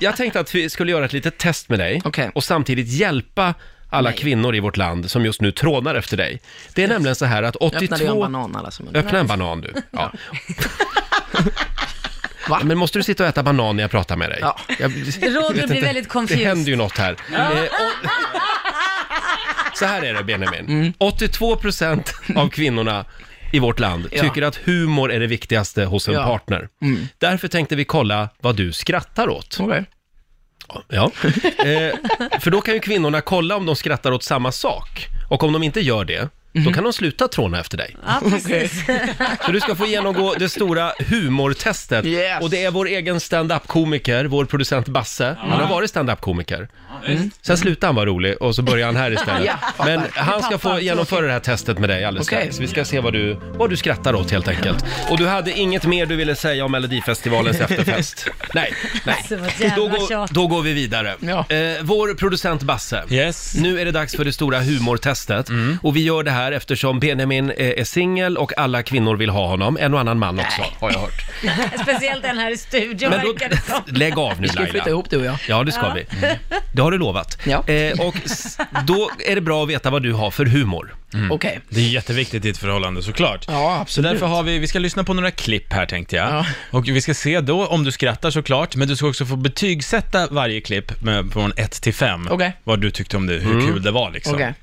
A: jag tänkte att vi skulle göra ett litet test med dig
H: Okej.
A: och samtidigt hjälpa alla kvinnor i vårt land som just nu trånar efter dig. Det är nämligen så här att
H: Nu öppnade jag en
A: 82...
H: banan alla som
A: Öppna en banan du. Ja.
H: Va?
A: Men måste du sitta och äta banan när jag pratar med dig?
H: Ja.
A: Jag, jag vet
B: blir
A: inte.
B: väldigt confused.
A: Det händer ju något här. Eh, och- så här är det Benjamin. 82% av kvinnorna i vårt land
H: Ja.
A: tycker att humor är det viktigaste hos en
H: Ja.
A: partner. Därför tänkte vi kolla vad du skrattar åt.
H: Okej.
A: Ja. Eh, för då kan ju kvinnorna kolla om de skrattar åt samma sak. Och om de inte gör det,
H: Mhm.
A: då kan de sluta tråna efter dig.
B: Ja, precis.
A: Så du ska få genomgå det stora humortestet.
H: Yes.
A: Och det är vår egen stand-up-komiker, vår producent Basse. Han har varit stand-up-komiker. Sen slutade han vara rolig och så började han här istället.
H: Mm. Ja,
A: Men han ska få genomföra det här testet med dig alldeles
H: Okej.
A: strax. Vi ska se vad du, vad du skrattar åt helt enkelt. Och du hade inget mer du ville säga om Melodifestivalens efterfest? Nej, nej.
B: Alltså, vad
A: Då
B: jävla tjat.
A: går, då går vi vidare.
H: Ja.
A: Eh, vår producent Basse.
E: Yes.
A: Nu är det dags för det stora humortestet.
H: Mm.
A: Och vi gör det här eftersom Benjamin eh, är, är singel och alla kvinnor vill ha honom. En och annan man också, har jag hört.
B: Speciellt den här i studion
A: Men då,
B: verkar det som.
A: lägg av nu
H: Vi ska ju flytta
A: Laila.
H: ihop du och jag.
A: Ja, det ska vi. Det har du lovat.
H: Ja.
A: Eh, och s- då är det bra att veta vad du har för humor.
H: Okej.
E: Det är jätteviktigt i ett förhållande såklart.
H: Ja, absolut.
E: Så därför har vi, vi ska lyssna på några klipp här tänkte jag.
H: Ja.
E: Och vi ska se då om du skrattar såklart, men du ska också få betygsätta varje klipp med, från 1 till 5.
H: Okej. Mm.
E: Vad du tyckte om det, hur kul det var liksom.
H: Okej.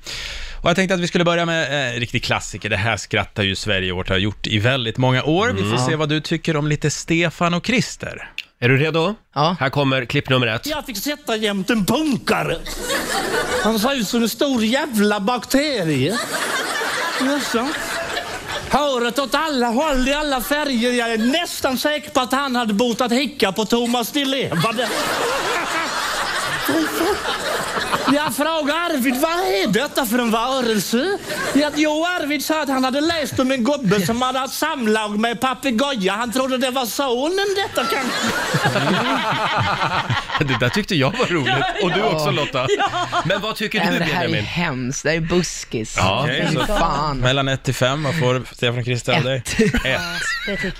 E: Och jag tänkte att vi skulle börja med eh, en riktig klassiker. Det här skrattar ju Sverige åt och har gjort i väldigt många år. Vi
H: Mm.
E: får se vad du tycker om lite Stefan och Christer.
A: Är du redo?
H: Ja.
A: Här kommer klipp nummer ett.
I: Jag fick sätta jämt en punkare. Han såg ut som en stor jävla bakterie. Jaså? Håret åt alla håll i alla färger. Jag är nästan säker på att han hade botat hicka på Thomas Di Levande. Jag frågade Arvid, vad är detta för en varelse? Jag, jo, Arvid sa att han hade läst om en gubbe som hade haft samlag med en papegoja. Han trodde det var sonen detta kanske.
A: Det där tyckte jag var roligt. Och du också Lotta. Men vad tycker
H: Nej,
A: du
H: men det här är
A: Benjamin?
H: hemskt, det här är buskis.
A: Ja, okej,
H: Fy
E: så-
H: fan.
E: Mellan 1 till 5, vad får Stefan och Christer av dig? Ett.
B: Det tycker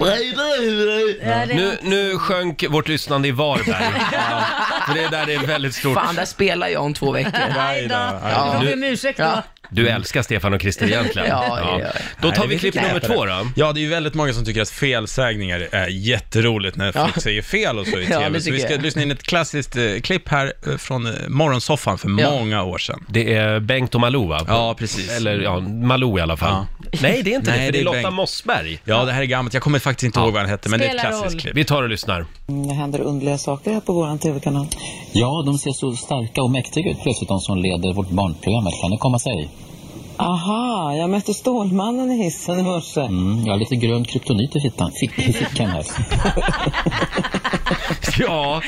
B: jag. Ja, det,
A: Nu, nu sjönk vårt lyssnande i Varberg. Ja, för det där är väldigt stort.
H: Fan, där spelar jag om två veckor.
E: Aj då, aj då.
B: Du får
A: nu-
B: be om ursäkt då.
H: Ja.
A: Du älskar Stefan och Christer egentligen.
H: Ja, ja, ja.
A: Då tar
E: Nej,
A: vi
E: det
A: klipp
E: fick jag
A: nummer
E: äta
A: två
E: det.
A: då.
E: Ja, det är ju väldigt många som tycker att felsägningar är jätteroligt när folk
H: Ja.
E: säger fel och så i
H: Ja,
E: tv.
H: det
E: så vi
H: tycker
E: ska
H: jag.
E: lyssna in ett klassiskt eh, klipp här eh, från eh, morgonsoffan för
H: Ja.
E: många år sedan.
A: Det är Bengt och Malou va?
E: Ja, precis.
A: Eller ja, Malou i alla fall. Nej, det är inte
E: Nej,
A: det, för det
E: det
A: är
E: är
A: Lotta
E: Bengt.
A: Mossberg.
E: Ja, det här är gammalt. Jag kommer faktiskt inte ihåg vad han hette, men det är
B: Spelar
E: ett klassiskt
B: roll.
E: klipp.
A: Vi tar och lyssnar.
J: Det händer underliga saker här på vår TV-kanal. Ja, de ser så starka och mäktiga ut plötsligt, de som leder vårt barnprogram. Hur kan det komma sig?
K: Aha, jag mötte Stålmannen i hissen i morse.
J: Mm, jag har lite grön kryptonit i fittan. Fick, i fickan här.
A: Ja,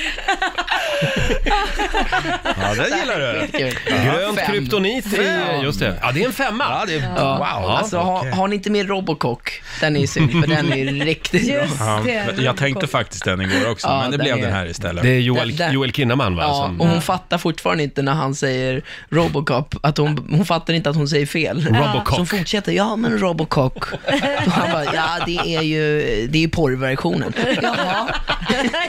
E: Ja, den gillar du.
H: Kul.
A: grönt
H: Fem.
A: kryptonit i... Just det. Ja, det är en femma. Ja, det är...
H: Ja.
A: Wow.
H: Alltså, har, har ni inte med Robocock? Den är ju super, den är ju riktigt bra.
B: Just
E: Ja,
B: det.
E: jag tänkte faktiskt den igår också,
H: Ja,
E: men det
H: den
E: blev
H: är-
E: den här istället.
A: Det är Joel,
H: Där- där-
A: Joel Kinnaman va?
H: Ja,
A: som-
H: och hon fattar fortfarande inte när han säger Robocop, att hon, hon fattar inte att hon säger fel.
A: Robocock.
H: Så hon fortsätter, ja men Robocock. Och han bara, ja det är ju, det är ju porrversionen. Jaha.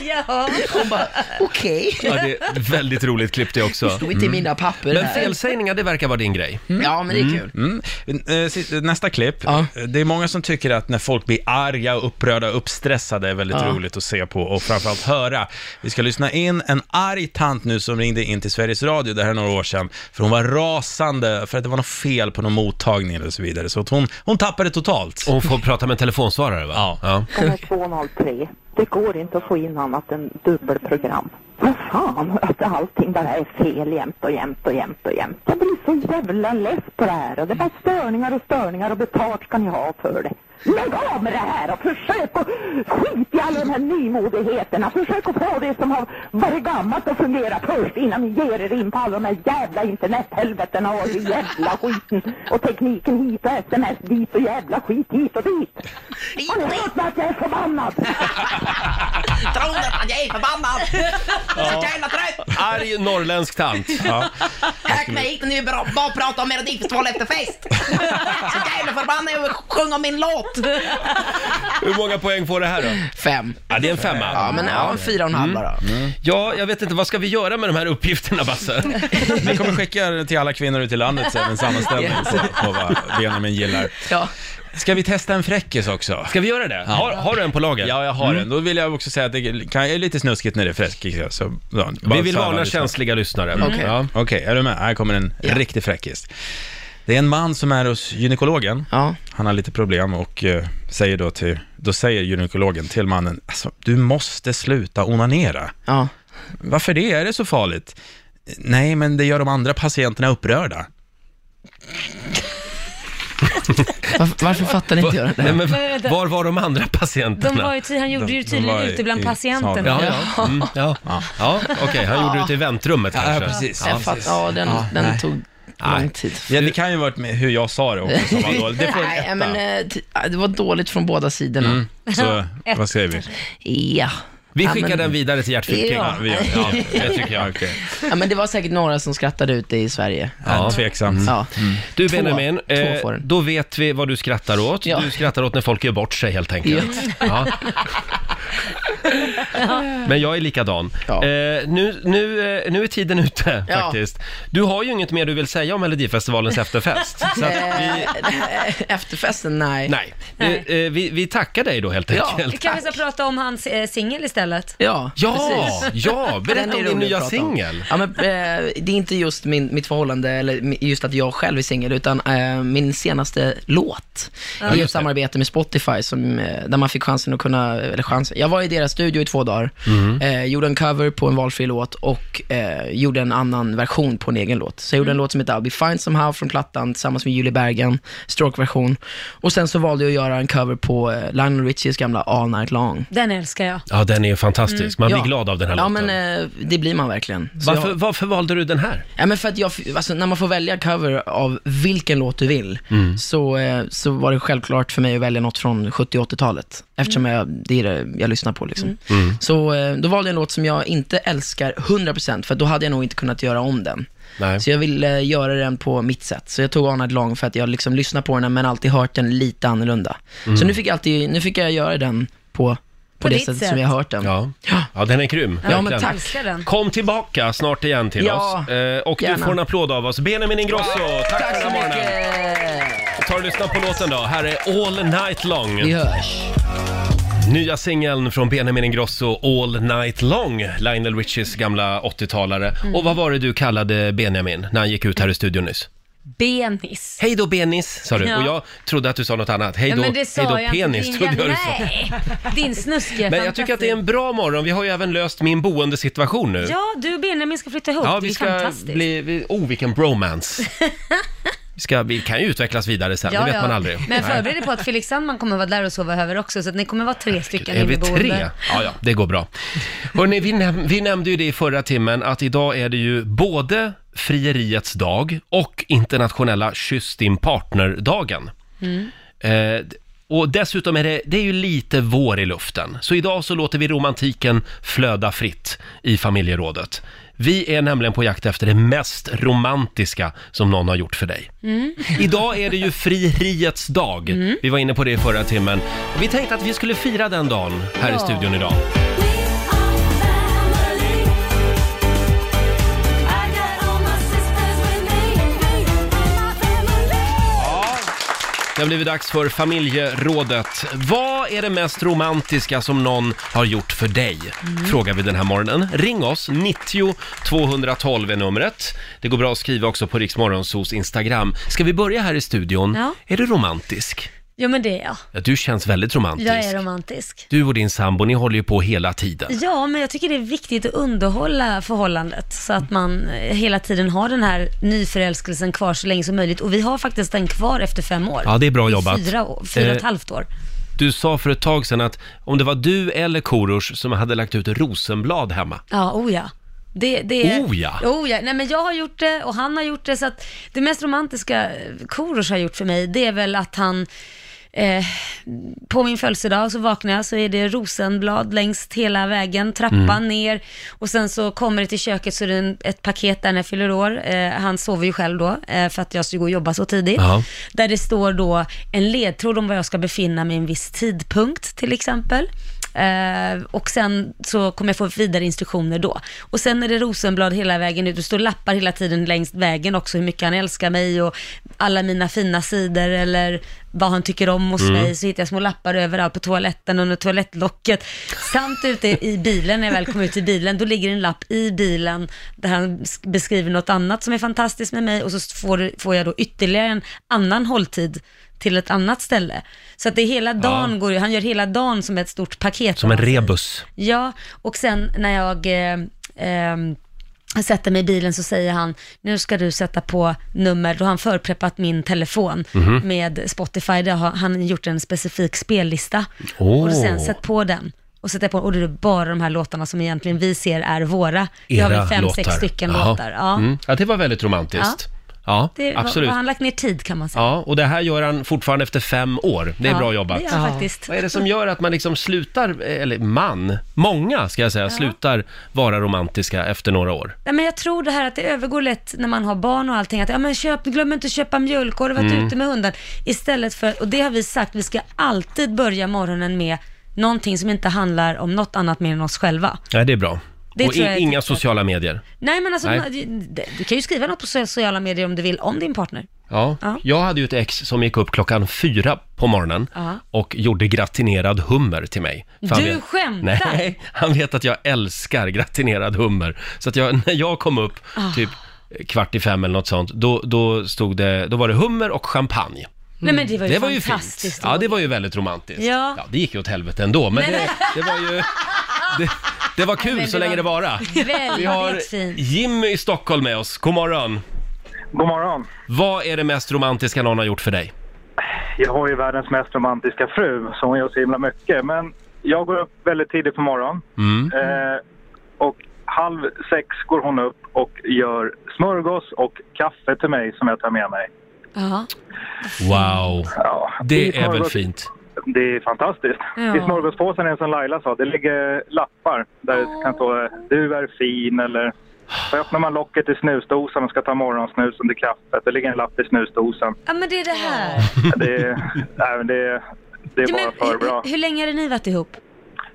B: ja.
H: Hon bara, okej.
A: Ja, det Mm. är ett väldigt roligt klipp det också.
H: Står inte i mina papper
A: Men
H: här.
A: felsägningar, det verkar vara din grej.
H: Ja men det är kul.
E: Mm. Eh, sist- Nästa klipp.
H: Ja.
E: Eh, Det är många som tycker att när folk blir arga, upprörda, uppstressade är väldigt roligt att se på och framförallt höra. Vi ska lyssna in en arg tant nu som ringde in till Sveriges Radio, det här är några år sedan, för hon var rasande för att det var något fel på någon mottagning eller så vidare. Så att hon, hon tappade totalt.
A: Och hon får prata med en telefonsvarare va?
E: Ja.
K: Klockan är 2.03. Det går inte att få in annat än dubbelprogram. Vad fan, att allting bara är fel jämt och jämt och jämt och jämt. Jag blir så jävla less på det här. Och det är bara störningar och störningar och betalt ska ni ha för det. Lägg av med det här och försök att skit i alla de här nymodigheterna. Försök att få det som har varit gammalt att fungera först innan ni ger er in på alla de här jävla internethelvetena och det jävla skiten och tekniken hit och sms dit och jävla skit hit och dit. Har ni hört mig att jag är förbannad?
H: Tror du att jag är förbannad? Så jävla trött!
A: Arg norrländsk tant.
H: Hög mig hit och nu bara prata om Melodifestivalen efter fest. Så jävla förbannad jag vill sjunga min låt.
A: Hur många poäng får det här då?
H: Fem.
A: Ja, det är en femma. Mm.
H: Ja men ja, en fyra och en halva då.
A: Ja, jag vet inte, vad ska vi göra med de här uppgifterna Basse?
E: Vi kommer skicka den till alla kvinnor ute i landet sen, en sammanställning på vad Benjamin gillar.
H: Ja.
E: Ska vi testa en fräckis också?
A: Ska vi göra det? Har, har du en på lager? Mm.
E: Ja, jag har en. Då vill jag också säga att det kan, är lite snuskigt när det är fräckis. Så, ja, bara
A: Vi vill
E: för alla
A: varna
E: lyssnare.
A: känsliga lyssnare.
H: Okej.
A: Ja.
E: Okej, är du med? Här kommer en riktig fräckis. Det är en man som är hos gynekologen.
H: Ja.
E: Han har lite problem och eh, säger då till, då säger gynekologen till mannen, alltså, du måste sluta onanera.
H: Ja.
E: Varför det? Är det så farligt? Nej, men det gör de andra patienterna upprörda.
H: Varför, varför fattar ni inte jag det?
A: Nej, men,
B: vänta.
A: var var de andra
B: De
A: patienterna?
B: var ju ty- han gjorde
E: De-
B: ju
E: de
B: tydligen
E: var i-
B: ute bland
E: i
B: patienterna.
E: salen.
A: Ja, ja. Mm, ja. ja okej, han gjorde det ute i väntrummet kanske.
H: Jag fattar, ja den, den tog lång tid.
E: Ja, det kan ju varit med hur jag sa det också som var dåligt. Det får en
H: Nej,
E: etta. Mm,
H: men, eh, t- ah, det var dåligt från båda sidorna.
E: Så, vad säger vi?
H: Ja.
A: Vi
H: Ja,
A: skickar
H: men-
A: den vidare till Gert Fylking.
H: Ja.
E: Vi gör det.
A: Ja, det tycker jag.
E: Okej.
H: Ja, men det var säkert några som skrattade ute i Sverige.
E: Ja, tveksamt.
H: Mm. Ja.
A: Mm. Du
H: Två.
A: Benjamin,
H: Två
A: eh,
H: får den.
A: då vet vi vad du skrattar åt.
H: Ja.
A: Du skrattar åt när folk gör bort sig helt enkelt. Ja. Men jag är likadan.
H: Ja.
A: Eh, nu, nu, eh, nu är tiden ute
H: Ja.
A: faktiskt. Du har ju inget mer du vill säga om Melodifestivalens efterfest. Så att
B: Eh,
A: vi,
H: Efterfesten, nej.
A: nej, Eh, eh, vi, vi tackar dig då helt
H: Ja.
A: enkelt.
B: Kanske ska prata om hans eh, singel istället.
H: Ja,
A: Ja,
H: precis.
A: ja,
H: Den
A: berätta
H: är
A: om din
H: rolig att
A: nya
H: prata om.
A: singel.
H: Ja, men, eh, det är inte just min, mitt förhållande, eller mi- just att jag själv är singel, utan eh, min senaste låt. är ett
A: just det.
H: samarbete med Spotify, som, eh, där man fick chansen att kunna, eller chansen, Jag var i deras studio i två dagar,
L: Mm.
H: eh, gjorde en cover på en valfri låt och eh, gjorde en annan version på en egen låt. Så jag gjorde en
A: Mm.
H: låt som heter I'll be fine somehow från plattan tillsammans med Julie Bergen, stroke-version. Och sen så valde jag att göra en cover på eh, Lionel Richies gamla All Night Long.
B: Den älskar jag.
A: Ja, den är fantastisk. Man blir glad av den här
H: ja,
A: låten.
H: men eh, det blir man verkligen. Så
A: Varför-
H: jag-
A: valde du den här?
H: Ja, men för att jag, alltså, när man får välja cover av vilken låt du vill,
A: Mm.
H: så, eh, så var det självklart för mig att välja något från 70 och 80-talet, eftersom
B: Mm.
H: jag, det är det jag lyssnar på. Liksom.
L: Mm.
H: Så eh, då valde jag en låt som jag inte älskar 100%, för då hade jag nog inte kunnat göra om den.
A: Nej.
H: Så jag ville eh, göra den på mitt sätt. Så jag tog Arnad Long för att jag liksom lyssnar på den, men alltid hört den lite annorlunda.
A: Mm.
H: Så nu fick, jag alltid, nu fick jag göra den på, på,
B: På
H: det
B: ditt
H: sättet
B: sätt.
H: som jag har hört den.
A: Ja. ja, den är grym.
H: Ja, men
A: verkligen.
H: tack.
B: Älskar den.
A: Kom tillbaka snart igen till
H: Ja,
A: oss. Eh, och du
H: gärna.
A: får en applåd av oss. Benjamin Ingrosso, tack, för den här morgonen. Ta och lyssna på låten då. Här är All Night Long.
H: Vi hörs.
A: Nya singeln från Benjamin Ingrosso, All Night Long, Lionel Richies gamla 80-talare.
B: Mm.
A: Och vad var det du kallade Benjamin när han gick ut här i studion nyss?
B: Benis.
A: Hej då Benis, sa du.
B: Ja.
A: Och jag trodde att du sa något annat. Hej
B: Ja,
A: då,
B: men det
A: hej
B: sa
A: då
B: jag inte.
A: penis,
B: Din-
A: trodde jag du sa.
B: Nej, din snuske.
A: Men jag tycker att det är en bra morgon. Vi har ju även löst min boendesituation nu.
B: Ja, du och Benjamin ska flytta ihop.
A: Ja,
B: det
A: vi
B: är
A: ska
B: fantastiskt.
A: bli... vi- Oh, vilken bromance! Vi, ska, vi kan ju utvecklas vidare sen, det vet man aldrig.
B: Men
A: Nej.
B: förbered dig på att Felix Sandman kommer vara där och sova över också, så att ni kommer vara tre stycken
A: Är vi tre?
B: inneboende.
A: Ja, ja, det går bra. Hörrni, vi, näm- vi nämnde ju det i förra timmen att idag är det ju både frieriets dag och internationella kyss din partner-dagen.
L: Mm.
A: Eh, d- och dessutom är det, det är ju lite vår i luften. Så idag så låter vi romantiken flöda fritt i familjerådet. Vi är nämligen på jakt efter det mest romantiska som någon har gjort för dig.
L: Mm.
A: Idag är det ju frieriets dag. Vi var inne på det i förra timmen. Och vi tänkte att vi skulle fira den dagen här i
L: Ja.
A: studion idag. Det har blivit dags för familjerådet. Vad är det mest romantiska som någon har gjort för dig? Frågar vi den här morgonen. Ring oss, 90 212 är numret. Det går bra att skriva också på Riksmorgonsos Instagram. Ska vi börja här i studion?
B: Ja.
A: Är du romantisk?
B: Jo, men det är jag.
A: Ja, du känns väldigt romantisk.
B: Jag är romantisk.
A: Du och din sambo, ni håller ju på hela tiden.
B: Ja, men jag tycker det är viktigt att underhålla förhållandet så att man eh, hela tiden har den här nyförälskelsen kvar så länge som möjligt. Och vi har faktiskt den kvar efter fem år.
A: Ja, det är bra
B: I
A: jobbat.
B: Fyra, år- fyra och ett
A: Eh,
B: halvt år.
A: Du sa för ett tag sedan att om det var du eller Korosh som hade lagt ut rosenblad hemma.
B: Ja, oh ja. Det, det är...
A: Oh ja.
B: Oh ja. Nej, men jag har gjort det och han har gjort det. Så att det mest romantiska eh, Korosh har gjort för mig, det är väl att han Eh, på min födelsedag så vaknar jag så är det rosenblad längs hela vägen, trappan
L: Mm.
B: ner och sen så kommer det till köket så är det en, ett paket där när jag fyller år. Eh, han sover ju själv då eh, för att jag ska gå och jobba så tidigt.
L: Ja.
B: Där det står då en ledtråd om var jag ska befinna mig i en viss tidpunkt till exempel. Eh, och sen så kommer jag få vidare instruktioner då. Och sen är det rosenblad hela vägen ut. Det står lappar hela tiden längs vägen också, hur mycket han älskar mig och alla mina fina sidor eller vad han tycker om hos
L: Mm.
B: mig. Så hittar jag små lappar överallt på toaletten, under toalettlocket. Samt ute i bilen, när jag väl kommer ut i bilen, då ligger en lapp i bilen där han sk- beskriver något annat som är fantastiskt med mig och så får, får jag då ytterligare en annan hålltid till ett annat ställe. Så att det är hela dagen går ju, han gör hela dagen som ett stort paket.
A: Som en rebus.
B: Ja, och sen när jag eh, ehm, sätter mig i bilen så säger han, nu ska du sätta på nummer, då har han förpreppat min telefon
L: Mhm.
B: med Spotify, där har han gjort en specifik spellista.
L: Åh.
B: Och då säger han, sätt på den. Och sätter jag på, och då är det bara de här låtarna som egentligen vi ser är våra. Vi har väl
A: Era
B: fem,
A: låtar.
B: sex stycken
A: Jaha.
B: låtar. Ja.
A: Mm. ja, det var väldigt romantiskt. Ja,
B: Det var,
A: absolut.
B: var han lagt ner tid kan man säga.
A: Ja, och det här gör han fortfarande efter fem år. Det är
B: Ja,
A: bra jobbat.
B: det gör han Ja. faktiskt.
A: Vad är det som gör att man liksom slutar, eller man, många ska jag säga, slutar vara romantiska efter några år?
B: Nej, men jag tror det här att det övergår lätt när man har barn och allting, att ja, men köp, glöm inte att köpa mjölk, har du varit
A: Mm.
B: ute med hunden? Istället för, och det har vi sagt, vi ska alltid börja morgonen med någonting som inte handlar om något annat mer än oss själva.
A: Ja, det är bra.
B: Det
A: och
B: tror jag är
A: inga sociala medier.
B: Nej men alltså,
A: Nej.
B: Du, du kan ju skriva något på sociala medier om du vill, om din partner.
A: Ja.
B: Ja.
A: Jag hade ju ett ex som gick upp klockan fyra på morgonen
B: Ja.
A: och gjorde gratinerad hummer till mig. För han
B: Du skämtar?
A: Nej, han vet att jag älskar gratinerad hummer. Så att jag, när jag kom upp
B: Ah.
A: typ kvart i fem eller något sånt, då, då, stod det, då var det hummer och champagne.
B: Nej men det var ju
A: det var ju
B: fantastiskt.
A: fint. Ja, det var ju väldigt romantiskt.
B: Ja.
A: det gick ju åt helvete ändå, men
B: Nej,
A: det, det var ju... Det, det var kul
B: men
A: så
B: det
A: länge
B: var
A: det vara.
B: väldigt
A: Vi har
B: fint.
A: Jimmy i Stockholm med oss. God morgon.
L: God morgon.
A: Vad är det mest romantiska någon har gjort för dig?
L: Jag har ju världens mest romantiska fru som gör så himla mycket. Men jag går upp väldigt tidigt på morgonen.
A: Mm.
L: Eh, och halv sex går hon upp och gör smörgås och kaffe till mig som jag tar med mig.
B: Ja.
A: Wow.
L: det
A: Det
L: är
A: är väl
L: smörgås.
A: fint.
L: Det är fantastiskt.
B: Ja.
L: I smörgåspåsen är det som Laila sa, det ligger lappar där det kan stå eh, du är fin eller så öppnar man locket i snusdosan och ska ta morgonsnusen till kaffet. Det ligger en lapp i snusdosan.
B: Ja men det är det här.
L: Det är, nej, men det, är- det är
B: Ja,
L: bara
B: men,
L: för bra.
B: hur, hur länge har ni varit ihop?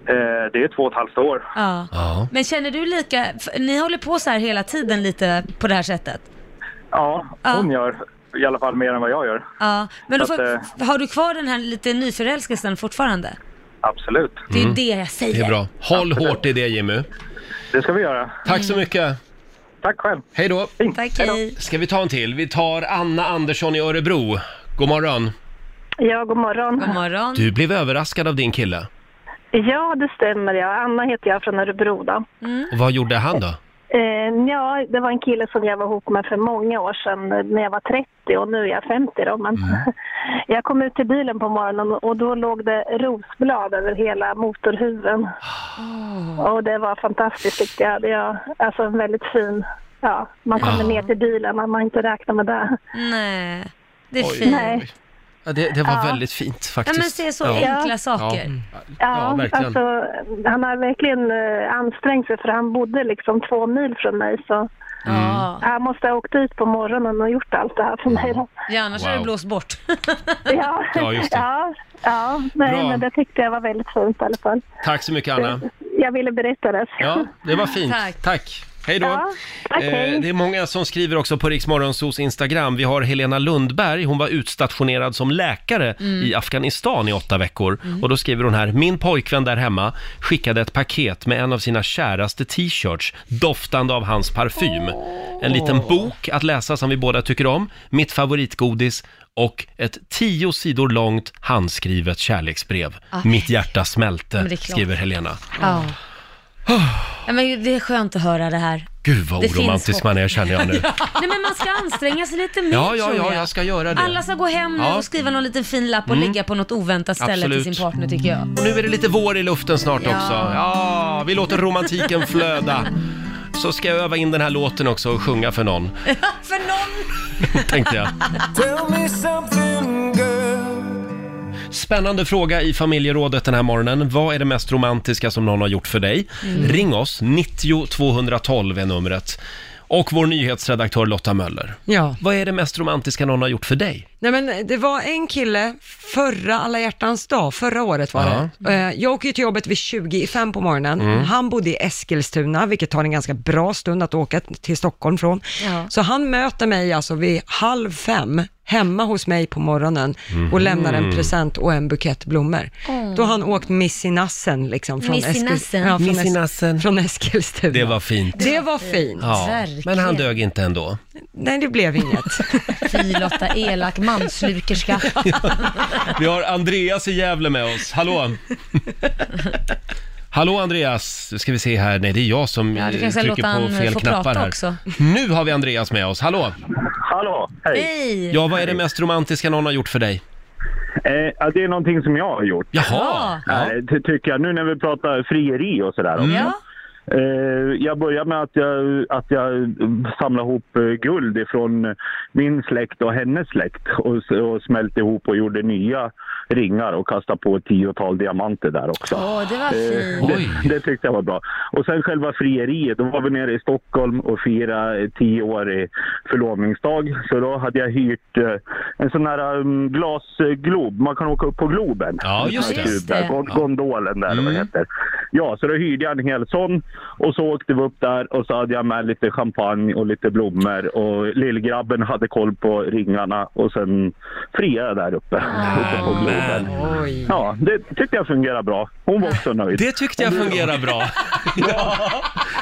L: Eh, det är två och ett halvt år.
B: Ja.
A: Ja.
B: Men känner du lika, för ni håller på så här hela tiden lite på det här sättet?
L: Ja, hon gör i alla fall mer än vad jag gör.
B: Ja, men då
L: Så
B: får,
L: att,
B: har du kvar den här lite nyförälskelsen fortfarande?
L: Absolut.
B: Det är ju det jag säger.
A: Mm. Det är bra. Håll hårt i det Jimmy.
L: Det ska vi göra.
A: Tack så mycket.
L: Tack själv.
A: Hej då.
B: Mm. Tack, hej.
A: Ska vi ta en till? Vi tar Anna Andersson i Örebro. God
B: Mm.
A: morgon.
M: Ja, god morgon.
B: God morgon.
A: Du blev överraskad av din kille.
M: Ja, det stämmer. Ja. Anna heter jag från Örebro. Då.
B: Mm.
A: Och vad gjorde han då?
M: Eh, ja, det var en kille som jag var ihop med för många år sedan eh, när jag var 30 och nu är jag 50. Då, men
B: Mm.
M: Jag kom ut till bilen på morgonen och då låg det rosblad över hela motorhuven.
B: Ah.
M: Och det var fantastiskt tyckte jag. Det var, alltså en väldigt fin. Ja, man kommer
A: Ja.
M: ner till bilen när man inte räknar med det.
B: Nej, det
A: Oj,
B: är fint.
M: Nej.
A: Ja, det, det var
M: Ja.
A: väldigt fint faktiskt.
B: Ja, men se så enkla saker.
A: Ja. Mm. Ja,
M: Ja,
A: verkligen.
M: alltså, han har verkligen eh, ansträngt sig för han bodde liksom två mil från mig. Så
A: Mm.
B: Mm.
M: Han måste ha åkt dit på morgonen och gjort allt det här för mig. Då.
B: Ja, annars hade
M: Wow.
B: det blåst bort.
M: Ja,
A: Ja, just det.
M: ja, ja nej,
A: Bra.
M: men det tyckte jag var väldigt fint i alla fall.
A: Tack så mycket Anna.
M: Jag ville berätta det.
A: Ja, det var fint.
M: Tack.
A: Hej då.
M: Ja, tack, hej.
A: Eh, det är många som skriver också på Riksmorgonsos Instagram. Vi har Helena Lundberg, hon var utstationerad som läkare
N: Mm.
A: i Afghanistan i åtta veckor.
N: Mm.
A: Och då skriver hon här, min pojkvän där hemma skickade ett paket med en av sina käraste t-shirts, doftande av hans parfym. En liten bok att läsa som vi båda tycker om, mitt favoritgodis och ett tio sidor långt handskrivet kärleksbrev.
B: Ah.
A: Mitt hjärta smälte,
B: Men det är klart.
A: skriver Helena.
B: Ja. Ja, men det är skönt att höra det här.
A: Gud vad
B: Det finns
A: oromantisk
B: hopp.
A: man är känner jag nu.
B: Nej men man ska anstränga sig lite mer
A: Ja, ja,
B: tror
A: ja,
B: jag.
A: jag ska göra det.
B: Alla ska gå hem nu
A: Ja.
B: och skriva någon liten fin lapp och
A: Mm.
B: ligga på något oväntat ställe
A: Absolut.
B: till sin partner tycker jag.
A: Och nu är det lite vår i luften snart
B: Ja.
A: också. Ja, vi låter romantiken flöda. Så ska jag öva in den här låten också och sjunga för någon,
B: För någon!
A: tänkte jag.
N: Tell me something girl
A: Spännande fråga i familjerådet den här morgonen. Vad är det mest romantiska som någon har gjort för dig?
N: Mm.
A: Ring oss, 90 212 är numret. Och vår nyhetsredaktör Lotta Möller.
C: Ja.
A: Vad är det mest romantiska någon har gjort för dig?
C: Nej men det var en kille förra alla hjärtans dag, förra året var
A: Ja.
C: det. Eh, Jag åker ju till jobbet vid 20 i fem på morgonen.
A: Mm.
C: Han bodde i Eskilstuna, vilket tar en ganska bra stund att åka till Stockholm från.
B: Ja.
C: Så han möter mig alltså vid halv fem hemma hos mig på morgonen och
B: Mhm.
C: lämnar en present och en bukett blommor.
B: Åh.
C: Då har han åkt missinassen liksom från,
B: Missinassen.
C: Ja, från,
A: Missinassen.
C: Es- från Eskilstuna.
A: Det var fint.
C: Det var fint.
A: Ja, men han dög inte ändå.
C: Nej, det blev inget.
B: Fy Lotta, elak manslukerska.
A: Vi har Andreas i Gävle med oss. Hallå! Hallå Andreas! Nu ska vi se här. Nej, det är jag som
B: Ja,
A: eh,
B: du kan säga
A: trycker
B: låta
A: på
B: han eh,
A: fel
B: få
A: knappar
B: prata
A: här.
B: också.
A: Nu har vi Andreas med oss. Hallå!
L: Hallå, hej.
B: Hej!
A: Ja, vad är det mest romantiska någon har gjort för dig?
O: Eh, ja, det är någonting som jag har gjort.
A: Jaha!
O: Eh, ty- tycker jag. Nu när vi pratar frieri och sådär också.
B: Mm. Ja.
O: Eh, jag börjar med att jag, att jag mm, samlar ihop eh, guld ifrån min släkt och hennes släkt och, s- och smälte ihop och gjorde nya ringar och kastade på ett tiotal diamanter där också. Eh,
B: Åh, det var fint.
O: det, det tyckte jag var bra. Och sen själva frieriet, då var vi nere i Stockholm och firade eh, tioårig förlovningsdag. Så då hade jag hyrt eh, en sån här um, glasglob, man kan åka upp på Globen.
A: Ja,
O: En
A: just
O: sån här
A: det.
O: kub där,
A: Just det. Mm.
O: gond- Gondolen där, eller vad det heter. Ja, så då hyrde jag en hel sån och så åkte vi upp där och så hade jag med lite champagne och lite blommor och lillgrabben hade koll på ringarna och sen friade jag där uppe. uppe på Globen. Ja, det tyckte jag fungerade bra. Hon var också nöjd.
A: Det tyckte jag fungerade bra.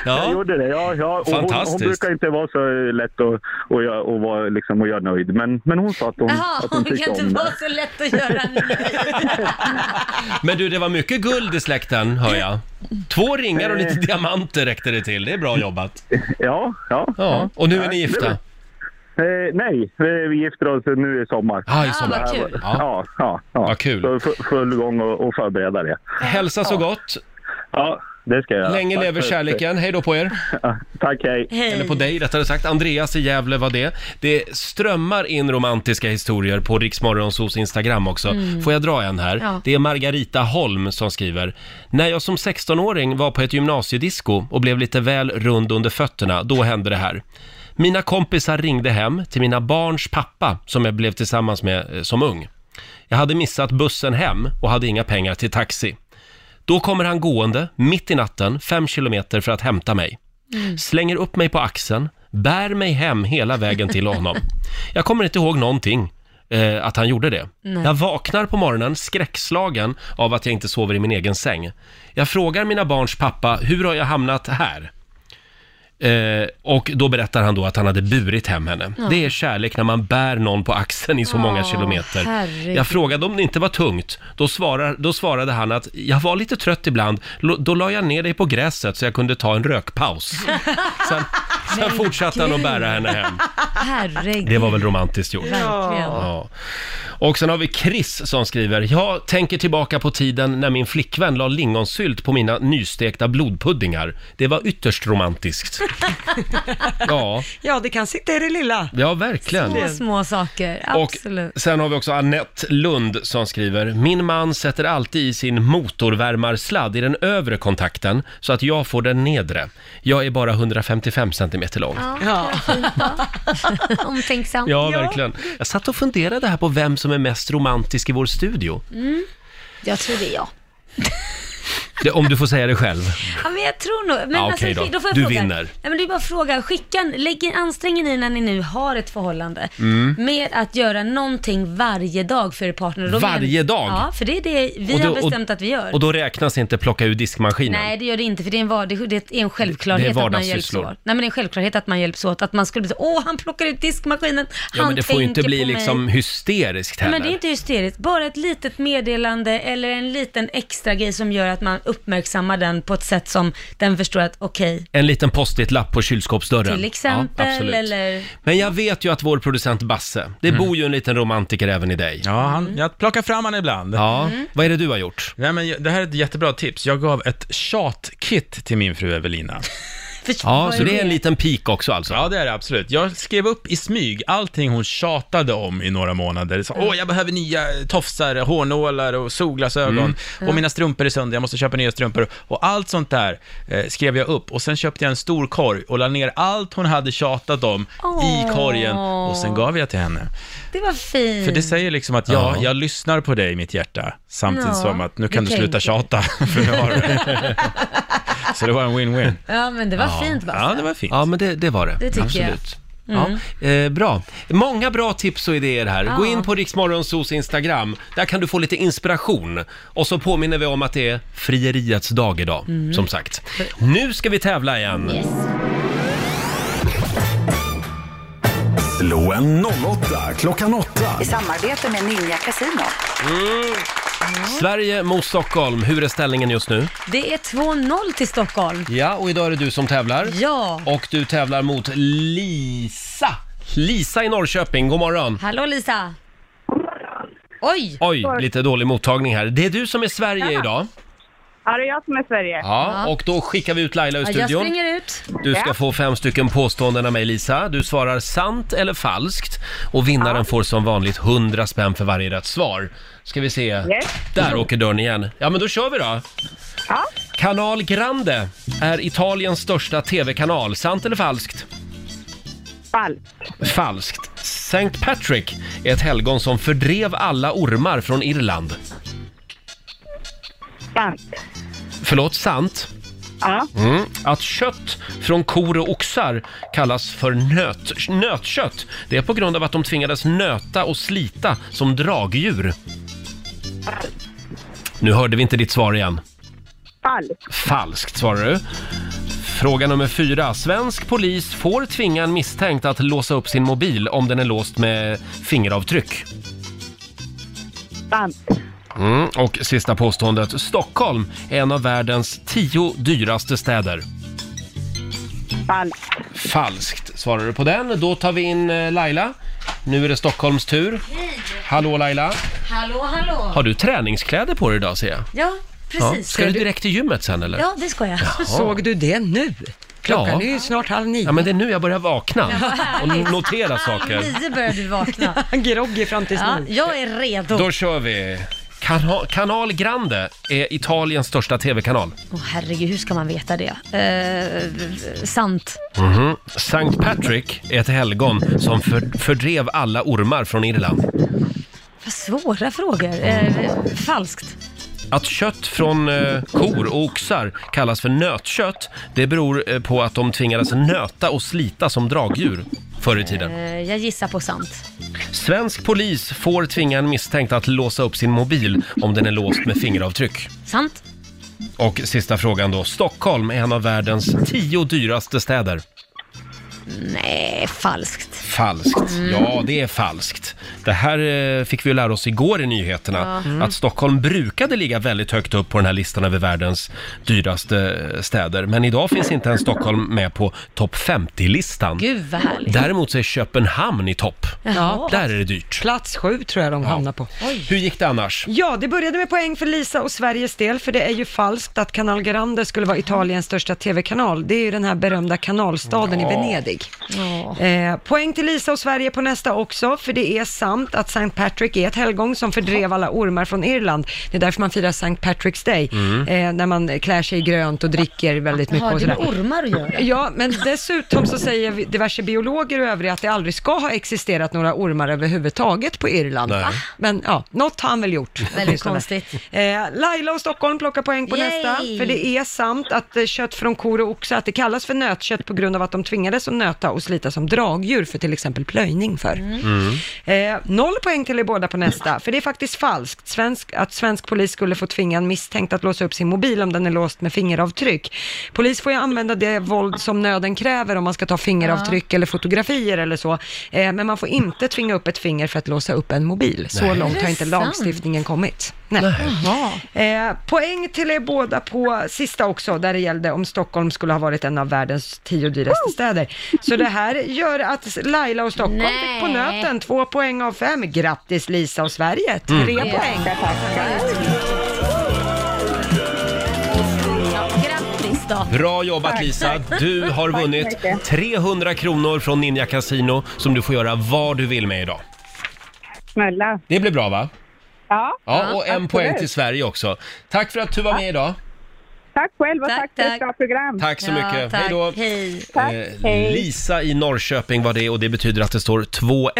O: Jag gjorde det, ja. ja. Och hon, hon
A: Fantastiskt.
O: brukar inte vara så lätt att, att, göra- att, vara, liksom, att göra nöjd, men, men hon sa att hon,
B: Jaha,
O: att hon
B: det
O: tyckte
B: kan
O: om
B: inte vara
O: det.
B: så lätt att göra nöjd.
A: Men du, det var mycket guld i släkten, hör jag. Två ringar och lite
O: Eh.
A: diamanter räckte det till. Det är bra jobbat.
O: Ja, ja.
A: Ja, och nu är
O: Ja,
A: ni gifta?
O: det var- Eh, nej, vi vi gifter oss nu i sommar.
A: Ah, i sommar. Ah, vad kul.
O: Ja, ja, ja. Vad kul. Så fu- full gång och, och förbereda det.
A: Hälsa så gott.
O: Ja, det ska jag göra.
A: Länge
O: Tack
A: lever
O: för-
A: kärleken. Hej då på er.
O: Tack, hej.
B: Hej.
A: Eller på dig rättare sagt. Andreas i Gävle var det. Det strömmar in romantiska historier på Riksmorgonsos Instagram också.
P: Mm.
A: Får jag dra en här?
P: Ja.
A: Det är Margarita Holm som skriver. När jag som 16-åring var på ett gymnasiedisco och blev lite väl rund under fötterna, då hände det här. Mina kompisar ringde hem till mina barns pappa som jag blev tillsammans med eh, som ung. Jag hade missat bussen hem och hade inga pengar till taxi. Då kommer han gående mitt i natten, fem kilometer för att hämta mig. Slänger upp mig på axeln, bär mig hem hela vägen till honom. Jag kommer inte ihåg någonting. eh, Att han gjorde det.
P: Nej.
A: Jag vaknar på morgonen skräckslagen av att jag inte sover i min egen säng. Jag frågar mina barns pappa, hur har jag hamnat här? Eh, och då berättar han då att han hade burit hem henne.
P: Ja.
A: Det är kärlek när man bär någon på axeln i så många
P: Åh,
A: kilometer.
P: herregud.
A: Jag frågade om det inte var tungt. Då, svarar, då svarade han att jag var lite trött ibland. Lo- Då la jag ner dig på gräset så jag kunde ta en rökpaus. Sen, sen fortsatte han att bära henne hem.
B: Herregud.
A: Det var väl romantiskt gjort?
B: Verkligen.
A: Ja. Och sen har vi Chris som skriver, jag tänker tillbaka på tiden när min flickvän la lingonsylt på mina nystekta blodpuddingar. Det var ytterst romantiskt. Ja,
C: Ja, det kan sitta i det lilla.
A: ja verkligen.
B: Små, små saker.
A: Och
B: Absolut.
A: sen har vi också Annette Lund som skriver, min man sätter alltid i sin motorvärmarsladd i den övre kontakten så att jag får den nedre. Jag är bara 155 centimeter lång.
B: Ja, Omtänksam.
A: Ja, verkligen. Jag satt och funderade här på vem som är mest romantisk i vår studio.
B: Mm. Jag tror det är jag.
A: Det, om du får säga det själv.
B: Ja, men jag tror nog... Men alltså,
A: Ja, okej då.
B: får jag
A: Du
B: fråga.
A: vinner.
B: Nej, men det är bara att fråga. Skicka en, lägg in ansträngen i när ni nu har ett förhållande.
A: Mm.
B: Med att göra någonting varje dag för er partner. Då
A: Varje dag?
B: Ja, för det är det vi
A: Och då-
B: har bestämt att vi gör.
A: Och då räknas inte plocka ur diskmaskinen.
B: Nej, det gör det inte, för det är en, var, det är en självklarhet
A: Det är
B: att man hjälps åt.
A: vardagssysslor.
B: Nej, men det är en självklarhet att man hjälps åt. Att man skulle bli så, åh, han plockar ut diskmaskinen, han
A: ja, men det får ju inte
B: tänker
A: bli
B: på mig."
A: liksom hysteriskt
B: Nej,
A: heller.
B: Men det är inte hysteriskt, bara ett litet meddelande eller en liten extra grej som gör att man uppmärksammar den på ett sätt som den förstår att okej,
A: En liten post-it-lapp på kylskåpsdörren.
B: till
A: Ja,
B: exempel
A: absolut.
B: eller...
A: Men jag vet ju att vår producent Basse, det
E: Mm.
A: bor ju en liten romantiker även i dig.
E: Ja, han, jag plockar fram han ibland.
A: Ja.
P: Mm.
A: Vad är det du har gjort?
E: Nej, men jag- det här är ett jättebra tips. Jag gav ett tjatkit till min fru Evelina.
A: Ja, så det är en liten pik också alltså?
E: Ja, det är det absolut. Jag skrev upp i smyg allting hon tjatade om i några månader. Så,
P: Mm.
E: Åh, jag behöver nya eh, tofsar, hårnålar och solglasögon.
P: Mm. Ja.
E: Och mina strumpor är sönder, jag måste köpa nya strumpor. Och allt sånt där eh, skrev jag upp. Och sen köpte jag en stor korg och la ner allt hon hade tjatat om
B: Åh.
E: i korgen. Och sen gav jag till henne.
B: Det var fint.
E: För det säger liksom att ja, jag lyssnar på dig mitt hjärta, samtidigt
B: Ja,
E: som att nu
B: du
E: kan du sluta
B: tänker.
E: tjata, för nu har du det. Så det var en win-win.
B: Ja, men det var fint Basse.
E: Ja, det var fint.
A: Ja, men det, det var det.
B: Det tycker
A: Absolut.
B: jag. Mm.
A: Ja, eh, bra. Många bra tips och idéer här. Gå
B: Ja.
A: in på Riksmorgonsos Instagram. Där kan du få lite inspiration. Och så påminner vi om att det är frieriets dag idag,
P: Mm.
A: som sagt. Nu ska vi tävla igen.
D: Slå en 08 klockan 8.
F: I samarbete med Ninja Casino.
A: Mm. Sverige mot Stockholm. Hur är ställningen just nu?
B: Det är 2-0 till Stockholm.
A: Ja, och idag är det du som tävlar.
B: Ja.
A: Och du tävlar mot Lisa. Lisa i Norrköping, god morgon.
B: Hallå Lisa! Oj!
A: Oj, lite dålig mottagning här. Det är du som är Sverige
G: Ja.
A: idag.
G: Ja, det är jag som är Sverige.
A: Ja, och då skickar vi ut Laila ur
G: Ja, jag
A: studion.
G: springer
B: ut.
A: Du ska
G: Ja.
A: få fem stycken påståenden av mig Lisa. Du svarar sant eller falskt och vinnaren får som vanligt 100 spänn för varje rätt svar. Ska vi se. Där åker dörren igen. Ja, men då kör vi då. Kanal Grande är Italiens största tv-kanal. Sant eller falskt? Falskt. Falskt. Saint Patrick är ett helgon som fördrev alla ormar från Irland.
G: Sant.
A: Förlåt, sant?
G: Ja.
A: Mm. Att kött från kor och oxar kallas för nöt, nötkött, det är på grund av att de tvingades nöta och slita som dragdjur. Nu hörde vi inte ditt svar igen.
G: Falskt.
A: Falskt svarar du. Fråga nummer fyra. Svensk polis får tvinga en misstänkt att låsa upp sin mobil om den är låst med fingeravtryck.
P: Sant.
A: Mm. Och sista påståendet. Stockholm är en av världens tio dyraste städer.
P: Falskt.
A: Falskt svarar du på den. Då tar vi in eh, Laila. Nu är det Stockholms tur. Hallå Laila!
B: Hallå, hallå.
A: Har du träningskläder på dig idag ser jag?
B: Ja,
A: Ja.
B: precis.
A: Ska du direkt till gymmet sen eller?
B: Ja, det ska jag.
C: Såg du det nu? Klockan
A: Ja.
C: är ju snart halv nio.
A: Ja, men det är nu jag börjar vakna
B: Ja, vad härligt.
A: och notera saker.
B: Nio börjar du vakna.
C: Groggy fram tills
B: ja,
C: nu.
B: Jag är redo.
A: Då kör vi! Kana- Kanal Grande är Italiens största tv-kanal.
B: Åh herregud, hur ska man veta det? Eh, sant.
A: Mhm. Sankt Patrick är ett helgon som för, fördrev alla ormar från Irland.
B: Vad svåra frågor. Eh, falskt.
A: Att kött från eh, kor och oxar kallas för nötkött, det beror eh, på att de tvingades nöta och slita som dragdjur förr i tiden.
B: Eh, jag gissar på sant.
A: Svensk polis får tvinga en misstänkt att låsa upp sin mobil om den är låst med fingeravtryck.
B: Sant.
A: Och sista frågan då. Stockholm är en av världens tio dyraste städer.
B: Nej, falskt.
A: Falskt.
B: Mm.
A: Ja, det är falskt. Det här eh, fick vi ju lära oss igår i nyheterna.
B: Ja. Mm.
A: Att Stockholm brukade ligga väldigt högt upp på den här listan över världens dyraste eh, städer. Men idag finns inte ens Stockholm med på topp 50-listan.
B: Gud vad härligt.
A: Däremot så är Köpenhamn i topp.
C: Jaha.
A: Där är det dyrt.
C: Plats sju tror jag de hamnar på.
A: Hur gick det annars?
C: Ja, det började med poäng för Lisa och Sveriges del, för det är ju falskt att Canal Grande skulle vara Italiens största TV-kanal. Det är ju den här berömda kanalstaden
B: Ja.
C: i Venedig.
B: Ja.
C: Eh, poäng till Lisa och Sverige på nästa också, för det är sant att St. Patrick är ett helgon som fördrev alla ormar från Irland. Det är därför man firar St. Patrick's Day,
B: Mm.
C: eh, när man klär sig i grönt och dricker väldigt mycket.
B: Jaha,
C: och
B: det med
C: sådär.
B: ormar att göra?
C: Ja, men dessutom så säger vi- diverse biologer och övriga att det aldrig ska ha existerat några ormar överhuvudtaget på Irland.
A: Nej. Va?
C: Men ja, något har han väl gjort.
B: Väldigt
C: åtminstone.
B: konstigt.
C: Eh, Laila och Stockholm plockar poäng på
B: Yay!
C: nästa, för det är sant att eh, kött från kor och oxar, att det kallas för nötkött på grund av att de tvingades att nöta och slita som dragdjur för till exempel plöjning för.
A: Mm.
C: Eh, noll poäng till er båda på nästa, för det är faktiskt falskt svensk, att svensk polis skulle få tvinga en misstänkt att låsa upp sin mobil om den är låst med fingeravtryck. Polis får ju använda det våld som nöden kräver om man ska ta fingeravtryck eller fotografier eller så, eh, men man får inte tvinga upp ett finger för att låsa upp en mobil. Så
B: Nej.
C: långt
B: Är det
C: har inte
B: sant?
C: lagstiftningen kommit. Nej. Eh, poäng till er båda på sista också, där det gällde om Stockholm skulle ha varit en av världens tio dyraste städer. Så det här gör att Laila och Stockholm fick på
B: Nej.
C: nöten två poäng av fem. Grattis Lisa och Sverige, tre
A: Mm.
C: poäng.
B: Ja, grattis då.
A: Bra jobbat
B: Tack.
A: Lisa! Du har
B: Tack så
A: vunnit
B: mycket.
A: 300 kronor från Ninja Casino som du får göra vad du vill med idag.
P: Snälla.
A: Det blir bra va?
P: Ja.
A: Ja, och en
P: absolut.
A: poäng till Sverige också. Tack för att du var med idag.
P: Tack själv och tack, för ett bra program.
A: Tack så mycket. Hej då.
B: Hej.
A: Eh,
P: hej.
A: Lisa i Norrköping var det och det betyder att det står 2-1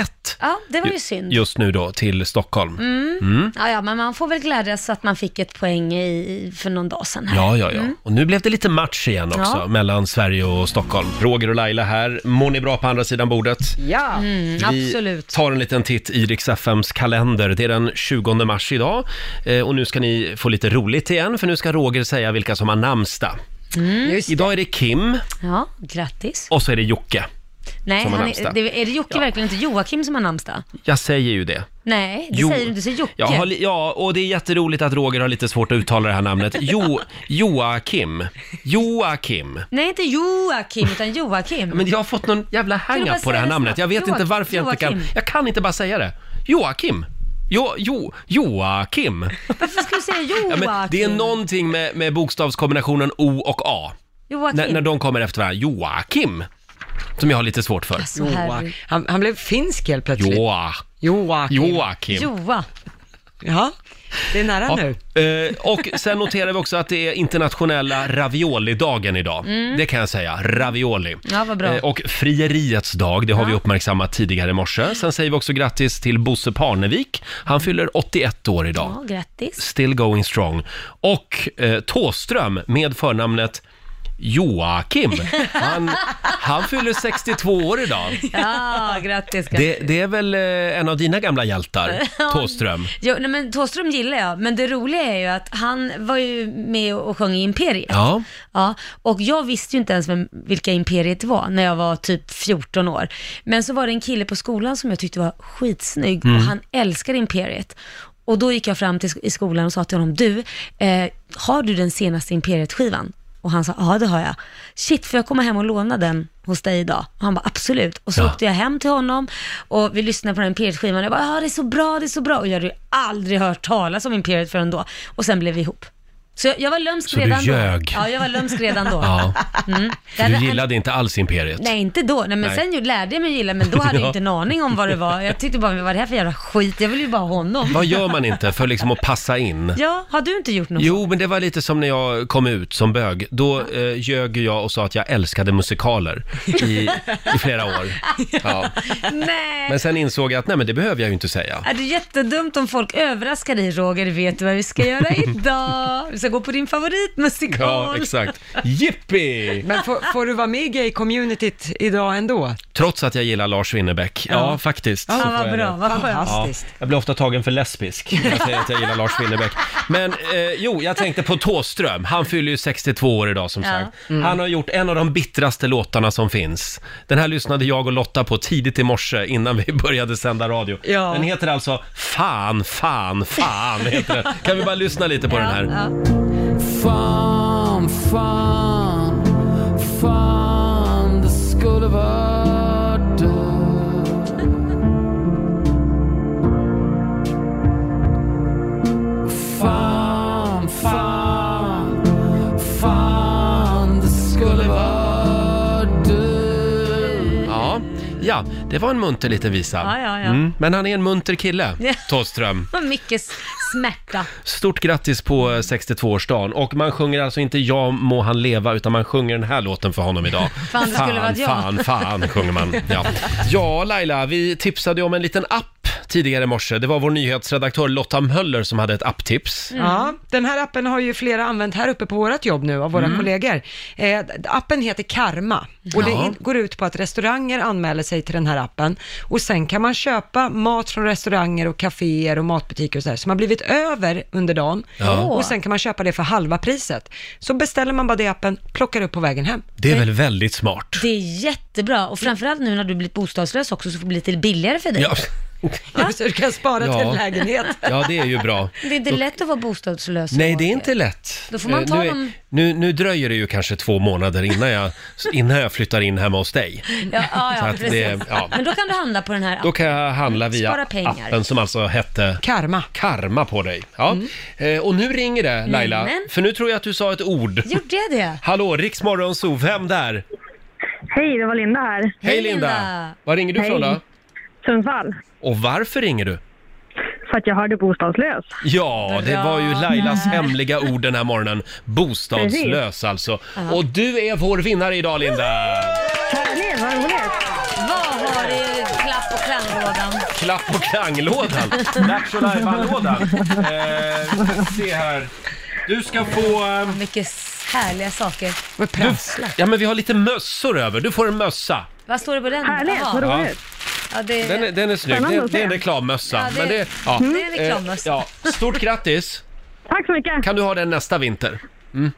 B: Ja, det var ju
A: ju-
B: synd.
A: just nu då till Stockholm.
B: Mm.
A: Mm.
B: Ja, ja, men man får väl glädjas att man fick ett poäng i, för någon dag sedan. Här.
A: Ja, ja, ja.
B: Mm.
A: Och nu blev det lite match igen också
B: Ja.
A: mellan Sverige och Stockholm. Roger och Laila här. Mår ni bra på andra sidan bordet?
C: Ja,
A: Vi tar en liten titt i Rix FMs kalender. Det är den 20 mars idag. Eh, och nu ska ni få lite roligt igen, för nu ska Roger säga vilka som har namnsdag.
B: Mm.
A: Idag är det Kim
B: Ja, grattis.
A: och så är det Jocke.
B: Nej,
A: Som har
B: han är,
A: namnsdag.
B: det, är det Jocke verkligen inte Joakim som har namnsdag?
A: Jag säger ju det.
B: Nej, det
A: Jo.
B: säger du inte, du säger Jocke.
A: Jag har li- ja, och det är jätteroligt att Roger har lite svårt att uttala det här namnet. Jo, Joakim. Joakim.
B: Nej, inte Joakim, utan Joakim.
A: Men jag har fått någon jävla
B: Kan du bara
A: hang-up på det
B: säga
A: här
B: det
A: namnet.
B: snabbt?
A: Jag vet
B: Joak-
A: inte varför jag inte kan...
B: Joakim.
A: Jag kan inte bara säga det. Joakim. Jo, jo, Joakim.
B: Varför ska du säga
A: Ja,
B: Joakim?
A: men det är någonting med, med bokstavskombinationen O och A.
B: Joakim.
A: När, när de kommer efter varandra. Joakim. Som jag har lite svårt för.
B: Alltså, herregud.
C: Han, han blev finsk helt plötsligt.
A: Joa.
C: Joakim.
A: Joakim.
B: Joa.
C: Ja, det är nära nu.
A: Ja, eh, och sen noterar vi också att det är internationella raviolidagen idag.
B: Mm.
A: Det kan jag säga, ravioli.
B: Ja, vad bra.
A: Eh, Och frieriets dag, det har vi uppmärksammat tidigare i morse. Sen säger vi också grattis till Bosse Parnevik. Han fyller 81 år idag.
B: Ja, grattis.
A: Still going strong. Och eh, Tåström med förnamnet Joakim. Han, han fyller 62 år idag.
B: Ja, grattis. grattis.
A: Det, det är väl eh, en av dina gamla hjältar,
B: Ja.
A: Thåström?
B: Jo, nej, men Thåström gillar jag, men det roliga är ju att han var ju med och sjöng i Imperiet.
A: Ja.
B: Ja, och jag visste ju inte ens vem, vilka Imperiet var när jag var typ 14 år. Men så var det en kille på skolan som jag tyckte var skitsnygg
Q: Mm.
B: och han älskade Imperiet. Och då gick jag fram till, i skolan och sa till honom, du, eh, har du den senaste Imperiet-skivan? Och han sa, ja det har jag. Shit, får jag komma hem och låna den hos dig idag? Och han bara, absolut. Och så
Q: Ja.
B: åkte jag hem till honom och vi lyssnade på den här Imperiet-skivan. Jag bara, ja det är så bra, det är så bra. Och jag hade ju aldrig hört talas om Imperiet förrän då. Och sen blev vi ihop. Så jag, jag var lömsk
A: Så du
B: redan
A: ljög?
B: då. Ja, jag var lömsk redan då.
A: Ja.
B: Mm. Det
A: Du
B: hade-
A: gillade inte alls Imperiet?
B: Nej, inte då. Nej, men
A: Nej.
B: sen ju- lärde jag mig gilla, men då hade
A: Ja.
B: jag ju inte en aning om vad det var. Jag tyckte bara, vad var det här för jävla skit? Jag ville ju bara ha honom.
A: Vad gör man inte för liksom att passa in?
B: Ja, har du inte gjort något?
A: Jo, men det var lite som när jag kom ut som bög. Då eh, ljög ju jag och sa att jag älskade musikaler i, i flera år. Ja.
B: Nej.
A: Men sen insåg jag att nej, men det behöver jag ju inte säga.
B: Är det jättedumt om folk överraskar dig Roger, vet du vad vi ska göra idag? Vi ska gå på din favoritmusikal.
A: Ja, exakt. Jippi!
C: Men får, får du vara med i gay-communityt idag ändå?
A: Trots att jag gillar Lars Winnerbäck. Ja,
C: Ja.
A: faktiskt.
C: Ja,
A: så
C: vad
A: får jag
C: bra,
A: det.
C: vad skönt. Fantastiskt.
A: jag blir ofta tagen för lesbisk när jag säger att jag gillar Lars Winnerbäck. Men eh, jo, jag tänkte på Thåström. Han fyller ju 62 år idag som
E: Ja.
A: sagt.
E: Mm.
A: Han har gjort en av de bittraste låtarna som finns. Den här lyssnade jag och Lotta på tidigt i morse innan vi började sända radio.
E: Ja.
A: Den heter alltså Fan, fan, fan. Heter den. Kan vi bara lyssna lite på den här?
N: Fan, fan, fan, det skulle vara du. Fan, fan, fan, det skulle vara du.
A: Ja, ja det var en munter liten visa. Mm.
B: Ja, ja, ja.
A: men han är en munter kille,
B: Ja.
A: Thåström.
B: Vad mycket s- smärta.
A: Stort grattis på eh, 62-årsdagen och man sjunger alltså inte Ja må han leva utan man sjunger den här låten för honom idag.
B: Fan, det skulle varit jag.
A: Fan, fan sjunger man. Ja. ja, Laila, vi tipsade ju om en liten app tidigare i morse. Det var vår nyhetsredaktör Lotta Möller som hade ett apptips.
C: Ja, den här appen har ju flera använt här uppe på vårt jobb nu av våra
A: Mm.
C: kollegor. Eh, d- appen heter Karma och det
A: Ja.
C: in- går ut på att restauranger anmäler sig till den här appen och sen kan man köpa mat från restauranger och kaféer och matbutiker och sådär som har blivit över under dagen
A: Ja.
C: och sen kan man köpa det för halva priset. Så beställer man bara det i appen, plockar upp på vägen hem.
A: Det är väl väldigt smart?
B: Det är jättebra och framförallt nu när du blivit bostadslös också så får det bli lite billigare för dig.
A: Ja.
C: Så du kan spara till en lägenhet.
A: ja, det är ju bra.
B: Det är inte lätt att vara bostadslös.
A: Nej, det är inte lätt.
B: Då får man
A: Eh,
B: ta
A: nu, är-
B: dem-
A: nu, nu dröjer det ju kanske två månader innan jag, innan jag flyttar in hemma hos dig.
B: Ja, ja,
A: Så
B: ja
A: att
B: precis.
A: det- ja.
B: Men då kan du handla på den här
A: Då kan jag handla
B: Spara
A: via
B: pengar.
A: appen som alltså hette
C: Karma.
A: Karma på dig. Ja. Eh, och nu ringer det Laila,
B: Nämen.
A: för nu tror jag att du sa ett ord.
B: Gjorde jag det?
A: Hallå, Riksmorgon Zoo, vem där?
Q: Hej, det var Linda här.
A: Hej, Linda. Var ringer du
Q: Hej.
A: från då?
Q: Sundsvall.
A: Och varför ringer du?
Q: För att jag hörde bostadslös.
A: Ja, det
Q: Bra
A: var ju Lailas
Q: där.
A: hemliga ord den här morgonen. Bostadslös
Q: Precis.
A: alltså.
Q: Ja.
A: Och du är vår vinnare idag Linda!
Q: Härligt, vad roligt.
B: Vad har du i klapp och klanglådan?
A: Klapp och klanglådan. Dags och lajban-lådan. Eh, se här. Du ska få... eh,
B: Mycket härliga saker.
A: Du, ja, men vi har lite mössor över. Du får en mössa.
B: Vad står det på den?
Q: Härligt,
B: Jaha.
Q: vad roligt.
B: Ja, det...
A: Den är, den är snygg.
Q: Eh, Spännande
A: Det,
Q: att
A: det är en
Q: se.
A: reklammössa.
B: Ja, det-
A: men det,
Q: Mm. det är en
A: Eh,
Q: reklammössa.
A: Ja. Stort grattis!
Q: Tack så mycket.
A: Kan du ha den nästa vinter?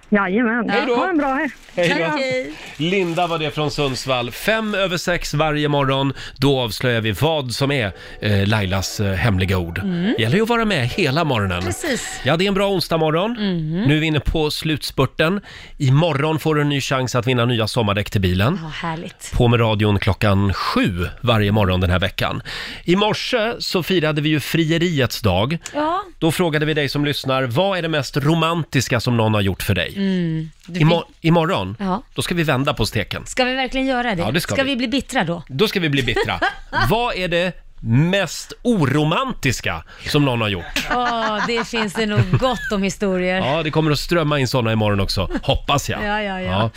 Q: Jajamän.
A: Hej då.
Q: Ha en bra helg.
A: Hej då. Linda var det från Sundsvall. Fem över sex varje morgon. Då avslöjar vi vad som är eh, Lailas eh, hemliga ord.
B: Mm.
A: gäller ju att vara med hela morgonen.
B: Precis. Mm.
A: Ja, det är en bra onsdag morgon.
Q: Mm.
A: Nu är vi inne på slutspurten. Imorgon får du en ny chans att vinna nya sommardäck till bilen.
B: Ja, härligt.
A: På med radion klockan sju varje morgon den här veckan. I morse så firade vi ju frieriets dag.
B: Ja.
A: Då frågade vi dig som lyssnar, vad är det mest romantiska som någon har gjort för dig?
B: Mm. Du,
A: Imor- imorgon,
B: Ja.
A: då ska vi vända på steken.
B: Ska vi verkligen göra det?
A: Ja, det ska vi.
B: vi bli bittra då?
A: Då ska vi bli bittra. Vad är det mest oromantiska som någon har gjort?
B: Åh, det finns det nog gott om historier.
A: Ja, det kommer att strömma in sådana imorgon också, hoppas jag.
B: Ja, ja, ja.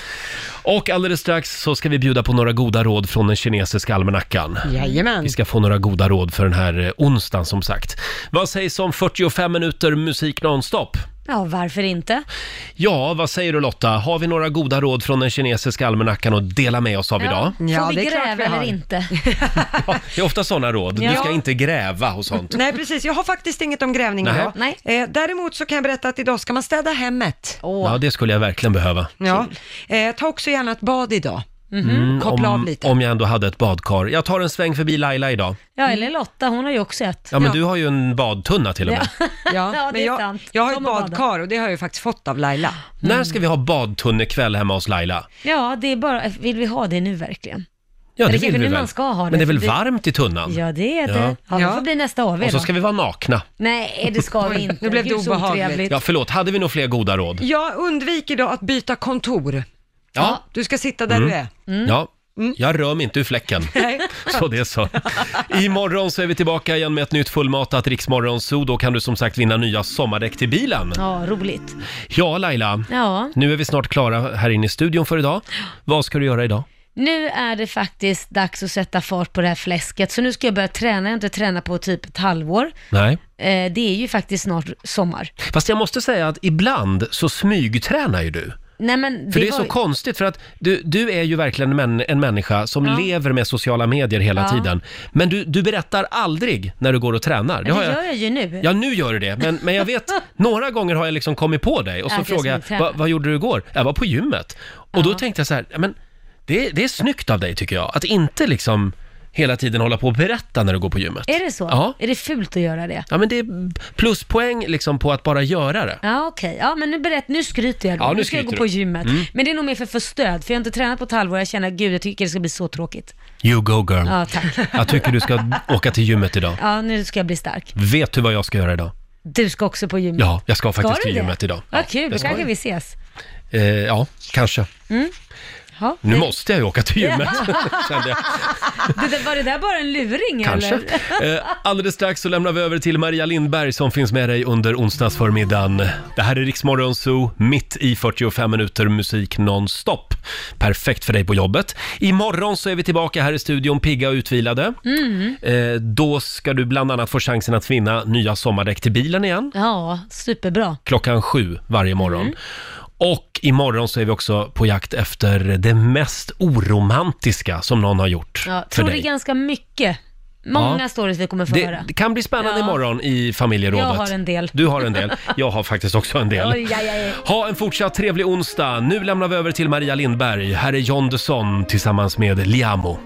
A: Och alldeles strax så ska vi bjuda på några goda råd från den kinesiska almanackan.
C: Jajamän.
A: Vi ska få några goda råd för den här eh, onsdagen som sagt. Vad sägs om 45 minuter musik nonstop?
B: Ja, varför inte?
A: Ja, vad säger du Lotta? Har vi några goda råd från den kinesiska almanackan att dela med oss av idag?
B: Får vi
C: det är klart
B: gräva
C: vi har.
B: eller inte?
A: Det är ofta sådana råd. Du
C: Ja.
A: ska inte gräva och sånt.
C: Nej, precis. Jag har faktiskt inget om grävning
A: Nej.
C: idag. Eh, däremot så kan jag berätta att idag ska man städa hemmet.
A: Ja, det skulle jag verkligen behöva.
C: Ja. Eh, ta också gärna ett bad idag.
A: Mm,
C: Mm-hmm. Koppla av
A: om,
C: lite.
A: om jag ändå hade ett badkar. Jag tar en sväng förbi Laila idag.
B: Ja, eller Lotta, hon har ju också ett.
A: Ja, men du har ju en badtunna till och med.
C: Ja,
B: det
C: men
B: är
C: jag,
B: sant.
C: jag har ett
B: Kom och bada.
C: badkar och det har jag ju faktiskt fått av Laila. Mm.
A: När ska vi ha badtunnekväll hemma hos Laila?
B: Ja, det är bara, vill vi ha det nu verkligen?
A: Ja,
B: Eller
A: det
B: kanske
A: vill vi
B: nu
A: väl.
B: man ska ha det,
A: Men det är väl
B: för det-
A: varmt i tunnan?
B: Ja, det är det. Ja, det får bli nästa AW
A: Och så
B: då.
A: ska vi vara nakna.
B: Nej, eh, det ska vi inte.
C: nu blev det
B: Gud, så
C: obehagligt.
B: otrevligt.
A: Ja, förlåt. Hade vi nog fler goda råd?
C: Jag undviker idag att byta kontor.
A: Ja.
C: Du ska sitta där
A: Mm.
C: du är.
A: Ja. Jag rör mig inte ur fläcken.
C: Mm. Nej.
A: Så det är så. Imorgon så är vi tillbaka igen med ett nytt fullmatat Riksmorgonzoo. Då kan du som sagt vinna nya sommardäck till bilen.
B: Ja, roligt.
A: Ja, Laila.
B: Ja,
A: Nu är vi snart klara här inne i studion för idag. Vad ska du göra idag?
B: nu är det faktiskt dags att sätta fart på det här fläsket. Så nu ska jag börja träna. Jag har inte tränat på typ ett halvår.
A: Nej.
B: Eh, det är ju faktiskt snart sommar.
A: Fast jag måste säga att ibland så smygtränar ju du.
B: Nej, men
A: För det, är så
B: var-
A: konstigt, för att du, du är ju verkligen en, en människa som
B: Ja.
A: lever med sociala medier hela
B: Ja.
A: tiden. Men du, du berättar aldrig när du går och tränar.
B: Men Det gör jag ju nu.
A: Ja, nu gör du det. Men, men jag vet, några gånger har jag liksom kommit på dig och så
B: Att jag
A: frågar jag,
B: smygtränar.
A: "Va- vad gjorde du igår? Jag var på gymmet. Och då tänkte jag så här, "Ja, men det, det är snyggt av dig tycker jag, att inte liksom hela tiden hålla på och berätta när du går på gymmet.
B: Är det så?
A: Ja.
B: Är det fult att göra det?
A: Ja, men det är pluspoäng liksom på att bara göra det.
B: Ja okej, ja men nu berätt, nu skryter jag då.
A: Ja, nu
B: ska jag gå
A: skryter
B: på
A: du.
B: gymmet.
A: Mm.
B: Men det är nog mer för att få stöd, för jag har inte tränat på ett halvår. Jag känner, gud jag tycker det ska bli så tråkigt.
A: You go girl.
B: Ja, tack.
A: Jag tycker du ska åka till gymmet idag.
B: Ja, nu ska jag bli stark.
A: Vet du vad jag ska göra idag?
B: Du ska också på gymmet.
A: Ja, jag ska faktiskt
B: du
A: till
B: det?
A: gymmet idag.
B: Vad
A: Ja,
B: kul,
A: det
B: då
A: ska
B: kanske
A: jag.
B: vi ses.
A: Eh, ja, kanske.
B: Mm. Ja.
A: Nu måste jag ju åka till gymmet, kände jag.
B: Det där, var det där bara en luring
A: Kanske.
B: eller?
A: Eh, alldeles strax så lämnar vi över till Maria Lindberg som finns med dig under onsdagsförmiddagen. Det här är Riksmorgon Zoo, mitt i 45 minuter musik nonstop. Perfekt för dig på jobbet. Imorgon så är vi tillbaka här i studion, pigga och utvilade.
B: Mm.
A: Eh, då ska du bland annat få chansen att vinna nya sommardäck till bilen igen.
B: Ja, superbra.
A: Klockan sju varje morgon.
B: Mm.
A: Och imorgon så är vi också på jakt efter det mest oromantiska som någon har gjort
B: Ja,
A: för
B: tror det
A: dig.
B: är ganska mycket. Många
A: Ja.
B: stories vi kommer få
A: Det,
B: höra.
A: det kan bli spännande
B: Ja.
A: imorgon i familjerådet.
B: Jag har en del.
A: Du har en del. Jag har faktiskt också en del.
B: Oj, aj, aj.
A: Ha en fortsatt trevlig onsdag. Nu lämnar vi över till Maria Lindberg. Här är John Dusson tillsammans med Liamo.